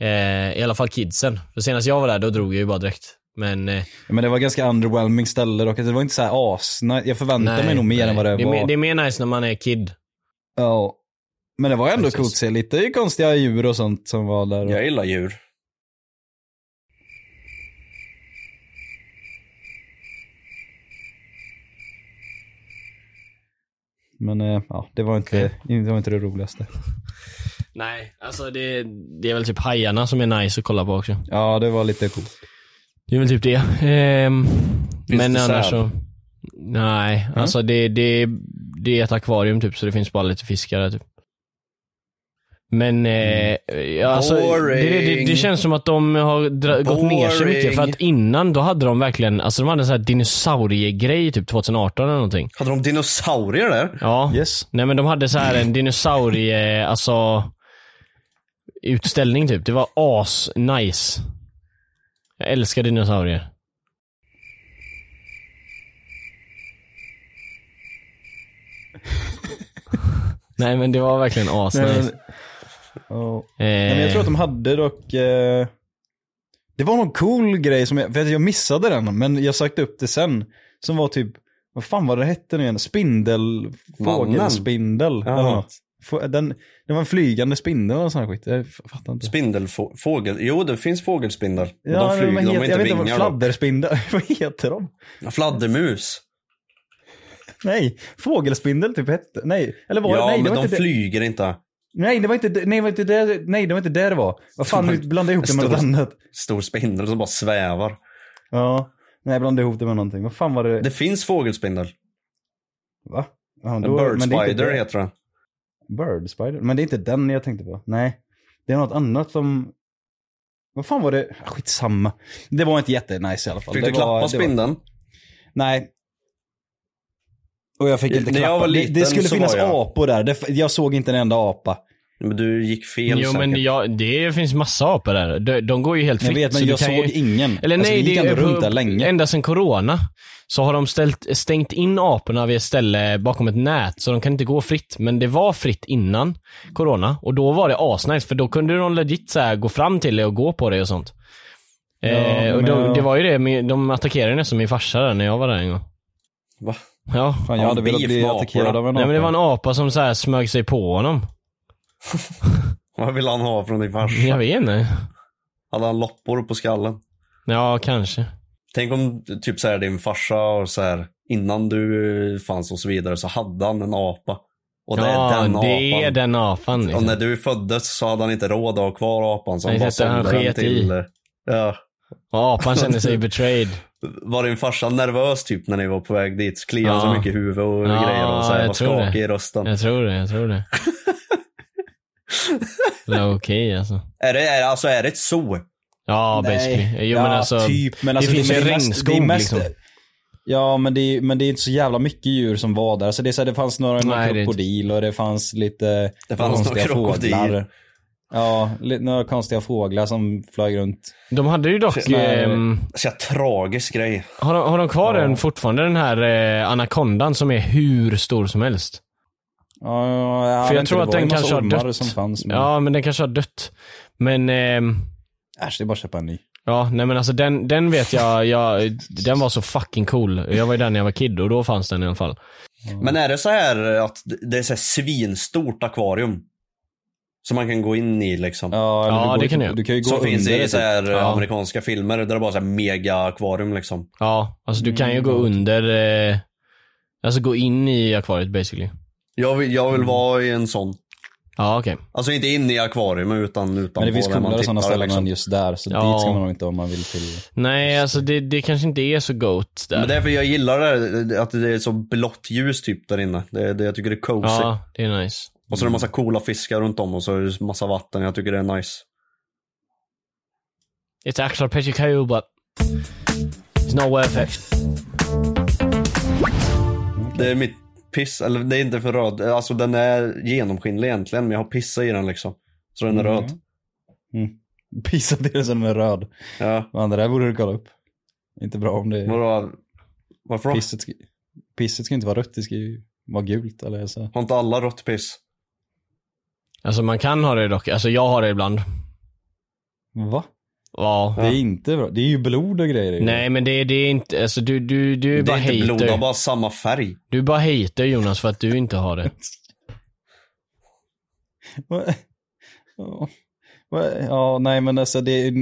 Speaker 4: Eh, I alla fall kidsen. För senast jag var där, då drog jag ju bara direkt. Men... Eh,
Speaker 3: Men det var ganska underwhelming ställe dock. Alltså, Det var inte så här as. Nej, Jag förväntade mig nog mer än vad det,
Speaker 4: är
Speaker 3: var.
Speaker 4: mer- det är mer nice när man är kid.
Speaker 3: Ja. Men det var ändå
Speaker 4: Precis.
Speaker 3: coolt att se lite konstiga djur och sånt som var där.
Speaker 2: Jag gillar djur.
Speaker 3: Men eh, ja, det var inte, det, var inte det roligaste.
Speaker 4: Nej, alltså det, det är väl typ hajarna som är nice att kolla på också.
Speaker 3: Ja, det var lite coolt.
Speaker 4: Det är väl typ det. Ehm, men
Speaker 2: det säl?
Speaker 4: annars så... Nej, alltså det, det, det är ett akvarium typ så det finns bara lite fiskar där typ. Men eh, ja, alltså, det, det, det känns som att de har dra- gått ner sig mycket för att innan då hade de verkligen, alltså de hade en sån här dinosauriegrej typ 2018 eller någonting.
Speaker 2: Hade de dinosaurier där?
Speaker 4: Ja.
Speaker 3: Yes.
Speaker 4: Nej men de hade så här en dinosaurie, alltså utställning typ. Det var as nice. Jag älskar dinosaurier. Nej men det var verkligen as
Speaker 3: Nej,
Speaker 4: nice.
Speaker 3: men- Ja.
Speaker 4: Eh,
Speaker 3: Nej, men jag tror att de hade dock... Eh, det var någon cool grej som jag, för att jag missade den, men jag sökte upp det sen. Som var typ, vad fan var det hette nu igen? Spindel...
Speaker 2: Mannen.
Speaker 3: Fågelspindel.
Speaker 2: Ja.
Speaker 3: eller något. Få- Den, den var en flygande spindel eller sån här skit. Jag f- fattar inte.
Speaker 2: Spindelfågel? Jo, det finns fågelspindel. Men
Speaker 3: Ja,
Speaker 2: de
Speaker 3: men
Speaker 2: flyger, de
Speaker 3: heter-
Speaker 2: har
Speaker 3: jag
Speaker 2: inte
Speaker 3: vet inte,
Speaker 2: vingar. dock.
Speaker 3: fladderspindel. vad heter de?
Speaker 2: Fladdermus.
Speaker 3: Nej, fågelspindel typ hette... Nej, eller var det?
Speaker 2: Ja,
Speaker 3: Nej, det
Speaker 2: men
Speaker 3: var
Speaker 2: de
Speaker 3: inte det.
Speaker 2: flyger inte.
Speaker 3: Nej, det var inte, det- nej, det var inte där, nej, det var inte där det var. Vad fan, nu blandade jag ihop det med något
Speaker 2: Stor-
Speaker 3: annat.
Speaker 2: Stor spindel som bara svävar.
Speaker 3: Ja. Nej, jag blandade ihop det med någonting. Vad fan var det?
Speaker 2: Det finns fågelspindel.
Speaker 3: Va? Ja,
Speaker 2: En bird
Speaker 3: men det är inte
Speaker 2: spider
Speaker 3: det.
Speaker 2: heter den.
Speaker 3: Bird spider? Men det är inte den jag tänkte på. Nej. Det är något annat som... Vad fan var det? Ah, Skitsamma. Det var inte jättenice i alla fall.
Speaker 2: Fick
Speaker 3: det
Speaker 2: du
Speaker 3: var, det
Speaker 2: klappa
Speaker 3: var-
Speaker 2: spindeln?
Speaker 3: Nej. Och jag fick inte
Speaker 2: När jag
Speaker 3: klappa.
Speaker 2: var
Speaker 3: det,
Speaker 2: liten
Speaker 3: det skulle
Speaker 2: så
Speaker 3: finnas
Speaker 2: var jag-
Speaker 3: apor där. Det, jag såg inte en enda apa.
Speaker 2: Men du gick fel
Speaker 4: jo
Speaker 2: säkert.
Speaker 4: men jag, det finns massa apor där. De, de går ju helt
Speaker 3: Jag
Speaker 4: fritt.
Speaker 3: vet, men
Speaker 4: så du
Speaker 3: jag
Speaker 4: kan
Speaker 3: såg
Speaker 4: ju...
Speaker 3: ingen.
Speaker 4: Eller
Speaker 3: Alltså,
Speaker 4: nej,
Speaker 3: vi gick
Speaker 4: det är
Speaker 3: ändå runt där länge.
Speaker 4: ända sedan corona så har de ställt, stängt in aporna vid ett ställe bakom ett nät så de kan inte gå fritt. Men det var fritt innan corona och då var det asnice för då kunde de legit så här gå fram till dig och gå på dig och sånt. eh, och
Speaker 3: men
Speaker 4: de,
Speaker 3: jag-
Speaker 4: Det var ju det, men de attackerade nästan min farsa där när jag var där en gång.
Speaker 2: Va?
Speaker 4: Ja.
Speaker 3: Fan, jag
Speaker 2: Ja,
Speaker 3: hade velat
Speaker 2: beef
Speaker 3: bli
Speaker 2: med apor,
Speaker 3: attackerad
Speaker 2: då.
Speaker 3: av en apa.
Speaker 4: Nej men det var en apa som så här smög sig på honom.
Speaker 2: Vad vill han ha från din farsa?
Speaker 4: Jag vet inte.
Speaker 2: Hade han loppor på skallen?
Speaker 4: Ja, kanske.
Speaker 2: Tänk om typ så här, din farsa och så här, innan du fanns och så vidare så hade han en apa. Och det är
Speaker 4: ja,
Speaker 2: den
Speaker 4: det
Speaker 2: apan.
Speaker 4: är den apan.
Speaker 2: Och
Speaker 4: Liksom.
Speaker 2: när du föddes så hade han inte råd att ha kvar apan. Så han
Speaker 4: Nej,
Speaker 2: bara
Speaker 4: så att han
Speaker 2: sålde den
Speaker 4: sket i.
Speaker 2: till... eh, Ja.
Speaker 4: Och apan kände sig betrayed.
Speaker 2: Var din farsa nervös typ när ni var på väg dit? Kliade han
Speaker 4: Ja.
Speaker 2: så mycket i huvudet och
Speaker 4: Ja,
Speaker 2: grejer och så här,
Speaker 4: jag
Speaker 2: var
Speaker 4: tror det.
Speaker 2: skakig i rösten.
Speaker 4: Jag tror det, jag tror det. Low key alltså.
Speaker 2: Är, det, är, det- alltså, är det ett zoo?
Speaker 4: Ja,
Speaker 3: Nej.
Speaker 4: basically. Jo, men alltså,
Speaker 3: typ, men
Speaker 4: det
Speaker 3: alltså,
Speaker 4: finns
Speaker 3: är
Speaker 4: ju
Speaker 3: mest-
Speaker 4: regnskog
Speaker 3: det är
Speaker 4: liksom.
Speaker 3: Ja, men det, är, men det är inte så jävla mycket djur som var där. Så det, är så här, det fanns några någon
Speaker 4: Nej, det är inte-
Speaker 3: krokodil och det fanns lite
Speaker 2: Det fanns några krokodil.
Speaker 3: Ja, li- några konstiga fåglar som flög runt.
Speaker 4: De hade ju dock...
Speaker 3: Nej.
Speaker 4: ehm,
Speaker 2: Så här, tragisk grej.
Speaker 4: har, de, har de kvar den fortfarande, den här eh, anakondan som är hur stor som helst?
Speaker 3: Ja, ja, ja,
Speaker 4: För jag
Speaker 3: inte,
Speaker 4: tror
Speaker 3: det
Speaker 4: att
Speaker 3: var
Speaker 4: den
Speaker 3: ju massa
Speaker 4: kanske har
Speaker 3: ormar
Speaker 4: dött.
Speaker 3: som fanns. Men...
Speaker 4: Ja, men den kanske har dött. Men... ehm,
Speaker 3: Äsch, det är bara att köpa en ny.
Speaker 4: Ja, nej men alltså den, den vet jag, jag, den var så fucking cool. Jag var ju där när jag var kid och då fanns den i alla fall.
Speaker 2: Men är det så här att det är så här svinstort akvarium? Som man kan gå in i liksom.
Speaker 3: Ja, eller
Speaker 4: Ja,
Speaker 3: du går
Speaker 4: det
Speaker 3: ju-
Speaker 4: kan jag.
Speaker 3: Du kan ju gå
Speaker 2: Som
Speaker 3: under
Speaker 2: finns
Speaker 3: det,
Speaker 2: i
Speaker 3: typ.
Speaker 2: så här eh,
Speaker 4: Ja.
Speaker 2: amerikanska filmer där det bara är så här mega akvarium liksom.
Speaker 4: Ja, alltså du
Speaker 2: Mm,
Speaker 4: kan ju gå under, eh, alltså gå in i akvariet basically.
Speaker 2: Mm. Jag vill, jag vill vara i en sån.
Speaker 4: Ja, okej.
Speaker 2: Alltså inte inne i akvarium utan utanpå
Speaker 3: Men det finns
Speaker 2: där man
Speaker 3: coolare sådana
Speaker 2: tittar,
Speaker 3: ställen
Speaker 2: liksom.
Speaker 3: än just där, så
Speaker 4: Ja.
Speaker 3: dit ska man nog inte om man vill till...
Speaker 4: Nej, alltså det, det kanske inte är så goat där.
Speaker 2: Men därför jag gillar det, här, att det är så blått ljus typ där inne. Det, det, jag tycker det är cozy.
Speaker 4: ja, det är nice.
Speaker 2: Och så är det massa coola fiskar runt om och så är det massa vatten. Jag tycker det är nice.
Speaker 4: It's actual Peshikaju, but it's not worth it.
Speaker 2: Det är mitt piss, eller det är inte för röd. Alltså den är genomskinlig egentligen men jag har pissat i den liksom. Så den är
Speaker 3: Mm.
Speaker 2: röd.
Speaker 3: Pissa till den är röd.
Speaker 2: Ja.
Speaker 3: Men det där borde du kolla upp. Inte bra om det är...
Speaker 2: Vadå? Varför då?
Speaker 3: Pisset ska, pisset ska inte vara rött, det ska ju vara gult eller så.
Speaker 2: Har inte alla rött piss?
Speaker 4: Alltså man kan ha det dock. Alltså jag har det ibland.
Speaker 3: Va?
Speaker 4: Ja.
Speaker 2: Mm.
Speaker 3: Det är inte bra. Det är ju blod och grejer i det.
Speaker 4: Nej men det, det är inte, alltså du, du, du är
Speaker 2: Det
Speaker 4: bara
Speaker 2: är inte blod, det har
Speaker 4: hater.
Speaker 2: bara samma färg.
Speaker 4: Du är bara hater Jonas för att du inte har det.
Speaker 3: Va- Ja. Va- Ja, nej men alltså det är...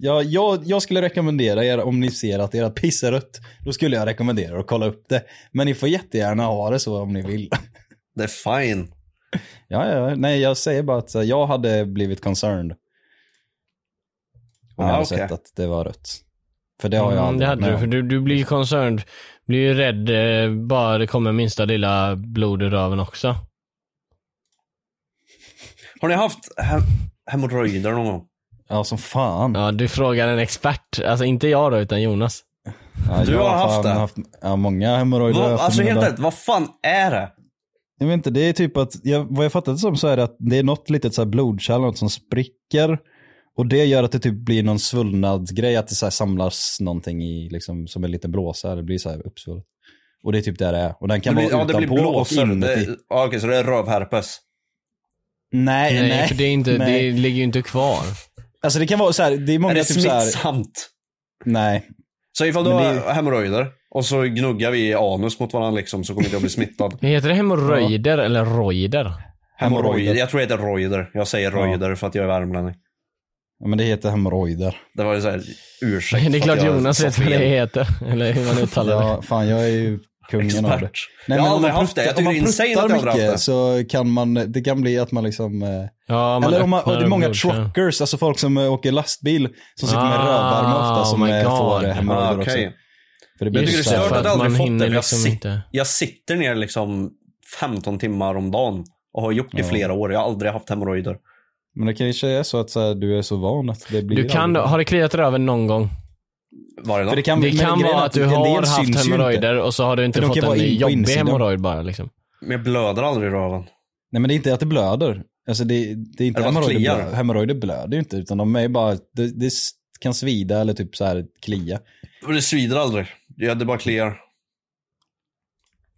Speaker 3: Ja, jag, jag skulle rekommendera er, om ni ser att era piss är rött, då skulle jag rekommendera er att kolla upp det. Men ni får jättegärna ha det så om ni vill.
Speaker 2: Det är fine.
Speaker 3: Ja, ja, nej jag säger bara att så här, jag hade blivit concerned. Om jag
Speaker 2: Ah,
Speaker 3: hade
Speaker 2: okej.
Speaker 3: sett att det var rött. För det har jag aldrig
Speaker 4: Mm, det hade du,
Speaker 3: varit med
Speaker 4: för
Speaker 3: om.
Speaker 4: du, du blir ju concerned. Blir ju rädd eh, bara det kommer minsta lilla blod i röven också.
Speaker 2: Har ni haft hem- hemorrojder någon gång?
Speaker 3: Ja, som fan.
Speaker 4: Ja, du frågar en expert. Alltså inte jag då, utan Jonas.
Speaker 3: Ja,
Speaker 2: Du
Speaker 3: jag
Speaker 2: har haft
Speaker 3: fan
Speaker 2: det?
Speaker 3: ja, många hemorrojder har
Speaker 2: Vad-
Speaker 3: jag haft
Speaker 2: alltså
Speaker 3: i mina
Speaker 2: helt
Speaker 3: dagar.
Speaker 2: ärligt, vad fan är det?
Speaker 3: Jag vet inte, det är typ att, jag, vad jag fattat det som så är det att det är något litet så här blodkärl något som spricker. Och det gör att det typ blir någon svullnadsgrej, att det så här samlas någonting i, liksom, som en liten blåsa. Det blir så här uppsvullet. Och det är typ där det är. Och den kan
Speaker 2: det blir,
Speaker 3: vara
Speaker 2: ja, det blir
Speaker 3: utanpå och
Speaker 2: blåsor. Det,
Speaker 3: inuti.
Speaker 2: ja, okej, så det är rövherpes.
Speaker 3: Nej,
Speaker 4: Nej,
Speaker 3: Eh, nej.
Speaker 4: för det, är inte,
Speaker 3: nej.
Speaker 4: det ligger ju inte kvar.
Speaker 3: Alltså det kan vara så här, det är många
Speaker 2: Är det
Speaker 3: typ så här,
Speaker 2: smittsamt?
Speaker 3: nej.
Speaker 2: Så ifall du
Speaker 3: Men
Speaker 2: har
Speaker 3: det-
Speaker 2: hemorrojder och så gnuggar vi anus mot varandra liksom så kommer inte jag bli smittad.
Speaker 4: Heter det hemorrojder eller roider?
Speaker 2: Hemorrojder.
Speaker 3: Hemorrojder.
Speaker 2: Jag tror det heter rojder. Jag säger rojder för att jag är värmlänning.
Speaker 3: Ja, men det heter hemorrojder.
Speaker 2: Det var ju såhär ursäkt. för
Speaker 4: Det är
Speaker 2: att
Speaker 4: klart
Speaker 2: jag
Speaker 4: Jonas
Speaker 2: sa
Speaker 4: vet vad
Speaker 2: fel.
Speaker 4: det heter. Eller hur man uttalar det.
Speaker 3: Ja, fan jag är ju kungen av det.
Speaker 2: Expert. Jag har
Speaker 3: men om
Speaker 2: aldrig
Speaker 3: man
Speaker 2: haft det. Jag tycker
Speaker 3: pruttar- om man
Speaker 2: det är insane att jag
Speaker 3: pruttar
Speaker 2: aldrig haft
Speaker 3: mycket
Speaker 2: det.
Speaker 3: Så kan man, det kan bli att man liksom... Eh,
Speaker 4: Ja,
Speaker 3: eller om man, och
Speaker 4: öppnar
Speaker 3: det är många
Speaker 4: upp blodkärl.
Speaker 3: truckers, alltså folk som eh, åker lastbil, som sitter med
Speaker 4: Ah,
Speaker 3: rövarmar ofta, som
Speaker 4: oh my
Speaker 3: eh, får
Speaker 4: God.
Speaker 3: eh,
Speaker 2: Ah,
Speaker 3: hemorrojder
Speaker 2: okej.
Speaker 3: också. För det
Speaker 2: Jag
Speaker 3: blir
Speaker 2: tycker det
Speaker 4: Just
Speaker 2: är
Speaker 4: det,
Speaker 2: stört
Speaker 4: för
Speaker 2: att
Speaker 4: att
Speaker 2: jag aldrig
Speaker 4: man
Speaker 2: fått det.
Speaker 4: hinner
Speaker 2: för Jag,
Speaker 4: liksom
Speaker 2: sit,
Speaker 4: inte.
Speaker 2: jag sitter ner liksom 15 timmar om dagen och har gjort det i flera år. Jag har aldrig haft hemorrojder.
Speaker 3: Men det kanske är så att så här, du är så van att det blir...
Speaker 4: Du kan,
Speaker 3: aldrig-
Speaker 4: har det kliat i röven någon gång?
Speaker 2: Varje
Speaker 3: För
Speaker 2: dag.
Speaker 3: det kan,
Speaker 4: Det
Speaker 3: men
Speaker 4: kan
Speaker 3: grejen är
Speaker 4: vara att du
Speaker 3: en del
Speaker 4: har
Speaker 3: syns ju
Speaker 4: haft
Speaker 3: inte.
Speaker 4: hemorrojder och så har du inte
Speaker 3: För de
Speaker 4: fått
Speaker 3: kan vara in
Speaker 4: en
Speaker 3: på
Speaker 4: jobbig
Speaker 3: insidan.
Speaker 4: hemorrojd bara liksom.
Speaker 2: Men jag blöder aldrig i röven.
Speaker 3: Nej men det är inte att det blöder. Alltså det, det är inte
Speaker 2: Eller bara
Speaker 3: hemorrojder,
Speaker 2: kliar.
Speaker 3: blöder. hemorrojder blöder ju inte utan de är bara, det, det s- kan svida eller typ så här klia.
Speaker 2: Och det svider aldrig. Ja, det bara kliar.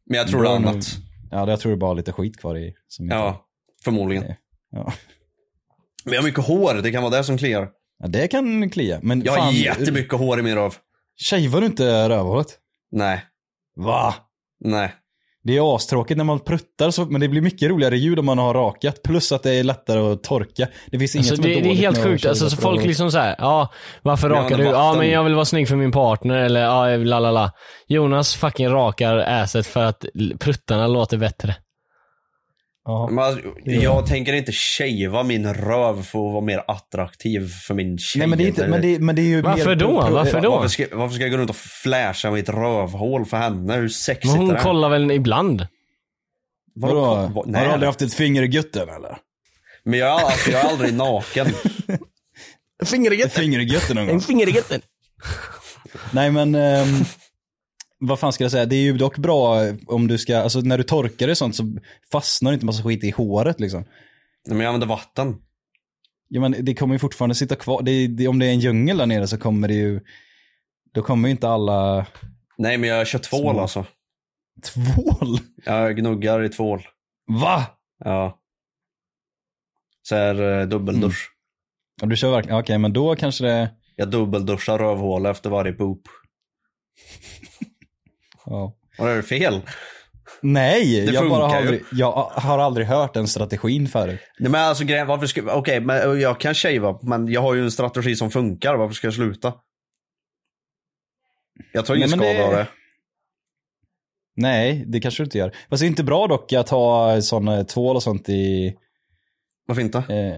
Speaker 2: Men jag tror det
Speaker 3: Bra
Speaker 2: är
Speaker 3: nog.
Speaker 2: annat.
Speaker 3: Ja det- jag tror det är bara lite skit kvar i. Som inte-
Speaker 2: Ja, förmodligen.
Speaker 3: Ja.
Speaker 2: Men jag har mycket hår, det kan vara det som kliar.
Speaker 3: ja. Det kan klia. Men
Speaker 2: Jag har
Speaker 3: fan,
Speaker 2: jättemycket hår i min röv.
Speaker 3: shavar du inte rövhålet?
Speaker 2: Nej,
Speaker 3: Va?
Speaker 2: nej.
Speaker 3: Det är astråkigt när man pruttar så, men det blir mycket roligare ljud om man har rakat. Plus att det är lättare att torka. Det finns inget
Speaker 4: Alltså,
Speaker 3: som är
Speaker 4: det, det är
Speaker 3: dåligt
Speaker 4: helt
Speaker 3: med att
Speaker 4: sjukt. Alltså,
Speaker 3: shava
Speaker 4: så
Speaker 3: för
Speaker 4: folk
Speaker 3: rövhålet.
Speaker 4: liksom såhär, ja, varför
Speaker 2: Jag
Speaker 4: rakar du?
Speaker 2: använder
Speaker 4: Ja,
Speaker 2: vatten.
Speaker 4: men jag vill vara snygg för min partner eller ja, la la la. Jonas fucking rakar asset för att l- pruttarna låter bättre.
Speaker 3: Ja.
Speaker 2: Men alltså, jag tänker inte shava min röv för att vara mer attraktiv för min tjej.
Speaker 3: Nej men det är inte, men det, men det är ju
Speaker 4: Varför
Speaker 3: mer,
Speaker 4: då?
Speaker 3: pro-
Speaker 4: Varför då?
Speaker 2: Varför, ska, varför ska jag gå runt och flasha mitt rövhål för henne? Hur sexigt
Speaker 4: Men
Speaker 2: är
Speaker 4: hon
Speaker 2: det?
Speaker 4: kollar väl ibland?
Speaker 3: Vadå?
Speaker 2: Vadå? Vad-
Speaker 3: Har du
Speaker 2: Nej,
Speaker 3: aldrig haft ett finger i gutten eller?
Speaker 2: men jag, är- alltså, jag är aldrig naken.
Speaker 4: Finger i
Speaker 3: Ett finger i gutten någon gång?
Speaker 4: Finger i gutten.
Speaker 3: Nej men, ehm, vad fan ska jag säga? Det är ju dock bra om du ska, alltså när du torkar det och sånt så fastnar det inte massa skit i håret liksom.
Speaker 2: Nej, men jag använder vatten.
Speaker 3: Ja men det kommer ju fortfarande sitta kvar, det, det, om det är en djungel där nere så kommer det ju, då kommer ju inte alla
Speaker 2: Nej, men jag kör tvål
Speaker 3: Små.
Speaker 2: alltså.
Speaker 3: tvål.
Speaker 2: Jag gnuggar i tvål.
Speaker 3: Va?
Speaker 2: Ja. Så här eh, dubbeldusch.
Speaker 3: Mm. Ja, du kör verkligen, okej men då kanske det,
Speaker 2: Jag dubbelduschar rövhålet efter varje poop.
Speaker 3: ja.
Speaker 2: Vad är det fel?
Speaker 3: Nej,
Speaker 2: Det
Speaker 3: jag, bara
Speaker 2: funkar
Speaker 3: har
Speaker 2: ju.
Speaker 3: aldrig, jag har aldrig hört den strategin förut.
Speaker 2: Nej men alltså grejen, varför ska, okej men jag kan shava, men jag har ju en strategi som funkar, varför ska jag sluta? Jag tar ingen
Speaker 3: Nej, men
Speaker 2: skada
Speaker 3: det-
Speaker 2: av det.
Speaker 3: Nej, det kanske du inte gör. Fast det är inte bra dock att ha sån eh, tvål och sånt i,
Speaker 2: Varför inte?
Speaker 3: Eh,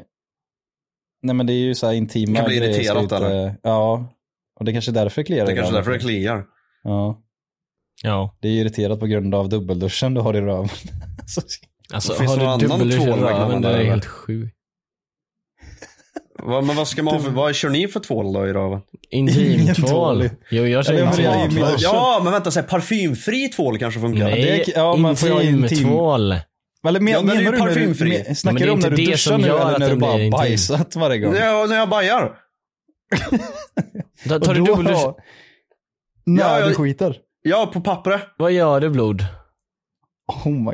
Speaker 3: nej men det är ju så här intima
Speaker 2: Kan bli
Speaker 3: grejer, så
Speaker 2: irriterat,
Speaker 3: inte-
Speaker 2: eller?
Speaker 3: Ja. Och det kanske är därför det kliar
Speaker 2: Det är kanske
Speaker 3: ibland.
Speaker 2: är därför det kliar.
Speaker 3: Ja.
Speaker 4: Ja.
Speaker 3: Det är ju irriterat på grund av dubbelduschen du har i röven. Så-
Speaker 4: Alltså,
Speaker 2: Finns det någon
Speaker 4: har
Speaker 2: annan
Speaker 4: du dubbeldusch i
Speaker 2: tvål man kan
Speaker 4: röven? Det
Speaker 2: använda
Speaker 4: är
Speaker 2: det
Speaker 4: helt sjukt.
Speaker 2: Vad, men vad ska man ha för, vad kör ni för tvål då i röven?
Speaker 3: Ingen
Speaker 4: Intimtvål.
Speaker 3: tvål.
Speaker 4: Jo, jag
Speaker 3: Ja,
Speaker 4: känner
Speaker 3: men det är
Speaker 4: intimtvål.
Speaker 3: ju-
Speaker 2: Ja, men vänta, så här, parfymfri tvål kanske funkar?
Speaker 3: Ja, det
Speaker 4: Nej,
Speaker 3: är- ja, man får ju ha intim-
Speaker 4: intimtvål.
Speaker 3: Eller men,
Speaker 2: Ja, den är
Speaker 3: menar
Speaker 2: ju
Speaker 3: du när du,
Speaker 2: parfymfri.
Speaker 3: men- snackar
Speaker 4: Men det
Speaker 3: du
Speaker 4: är
Speaker 3: om när
Speaker 4: inte
Speaker 3: du
Speaker 4: det
Speaker 3: duschar
Speaker 4: som
Speaker 3: nu
Speaker 4: gör
Speaker 3: eller
Speaker 4: att
Speaker 3: när du
Speaker 4: den blir
Speaker 3: bara
Speaker 4: intim.
Speaker 3: bajsat varje gång?
Speaker 2: Ja, när jag bajar.
Speaker 4: Tar
Speaker 3: Och
Speaker 4: tar du
Speaker 3: då-
Speaker 4: dubbeldusch?
Speaker 3: När
Speaker 2: Ja, jag-
Speaker 3: du skiter?
Speaker 2: Ja, på pappret.
Speaker 4: Vad gör du blod?
Speaker 3: Oh my.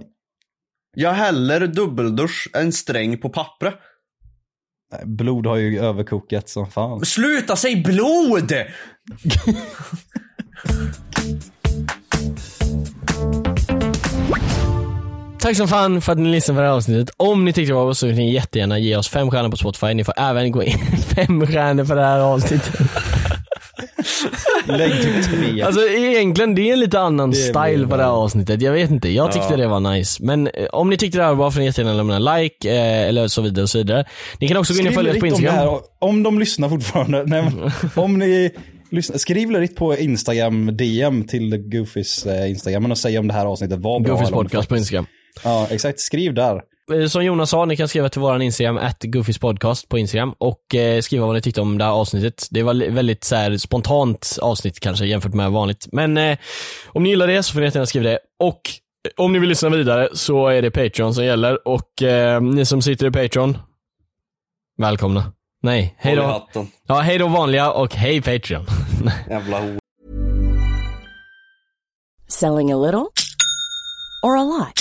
Speaker 2: Jag häller dubbeldusch, en sträng på pappret.
Speaker 3: Nej, Blod har ju överkokat som fan.
Speaker 2: Sluta säg blod!
Speaker 4: Tack som fan för att ni lyssnade på det här avsnittet. Om ni tyckte det var bra så får ni jättegärna ge oss fem stjärnor på Spotify. Ni får även gå in fem stjärnor för det här avsnittet.
Speaker 3: Lägg typ tre.
Speaker 4: Alltså egentligen, det är en lite annan
Speaker 3: Det är
Speaker 4: style
Speaker 3: mer-
Speaker 4: på det här avsnittet. Jag vet inte, jag tyckte det var nice. Men eh, om ni tyckte det här var bra får ni jättegärna lämna en like, eh, eller så vidare och så vidare. Ni kan också gå in och följa oss på
Speaker 3: Skriv lite
Speaker 4: Instagram.
Speaker 3: Om, det här, om de lyssnar fortfarande. Nej, men, om ni lyssnar, skriv lite på Instagram DM till Goofys eh, Instagram och säg om det här avsnittet var bra.
Speaker 4: Goofys
Speaker 3: eller om det
Speaker 4: podcast på
Speaker 3: faktiskt-
Speaker 4: Instagram.
Speaker 3: Ja, exakt. Skriv där.
Speaker 4: Eh, Som Jonas sa, ni kan skriva till våran Instagram, at Goofys podcast på Instagram och eh, skriva vad ni tyckte om det här avsnittet. Det var li- väldigt så här, spontant avsnitt kanske jämfört med vanligt. Men eh, om ni gillar det så får ni gärna skriva det. Och eh, om ni vill lyssna vidare så är det Patreon som gäller och eh, ni som sitter i Patreon, välkomna. Nej, hej
Speaker 2: Håll i
Speaker 4: då.
Speaker 2: hatten.
Speaker 4: Ja, hej då vanliga och hej Patreon.
Speaker 2: Jävla ho.
Speaker 9: Selling a little or a lot?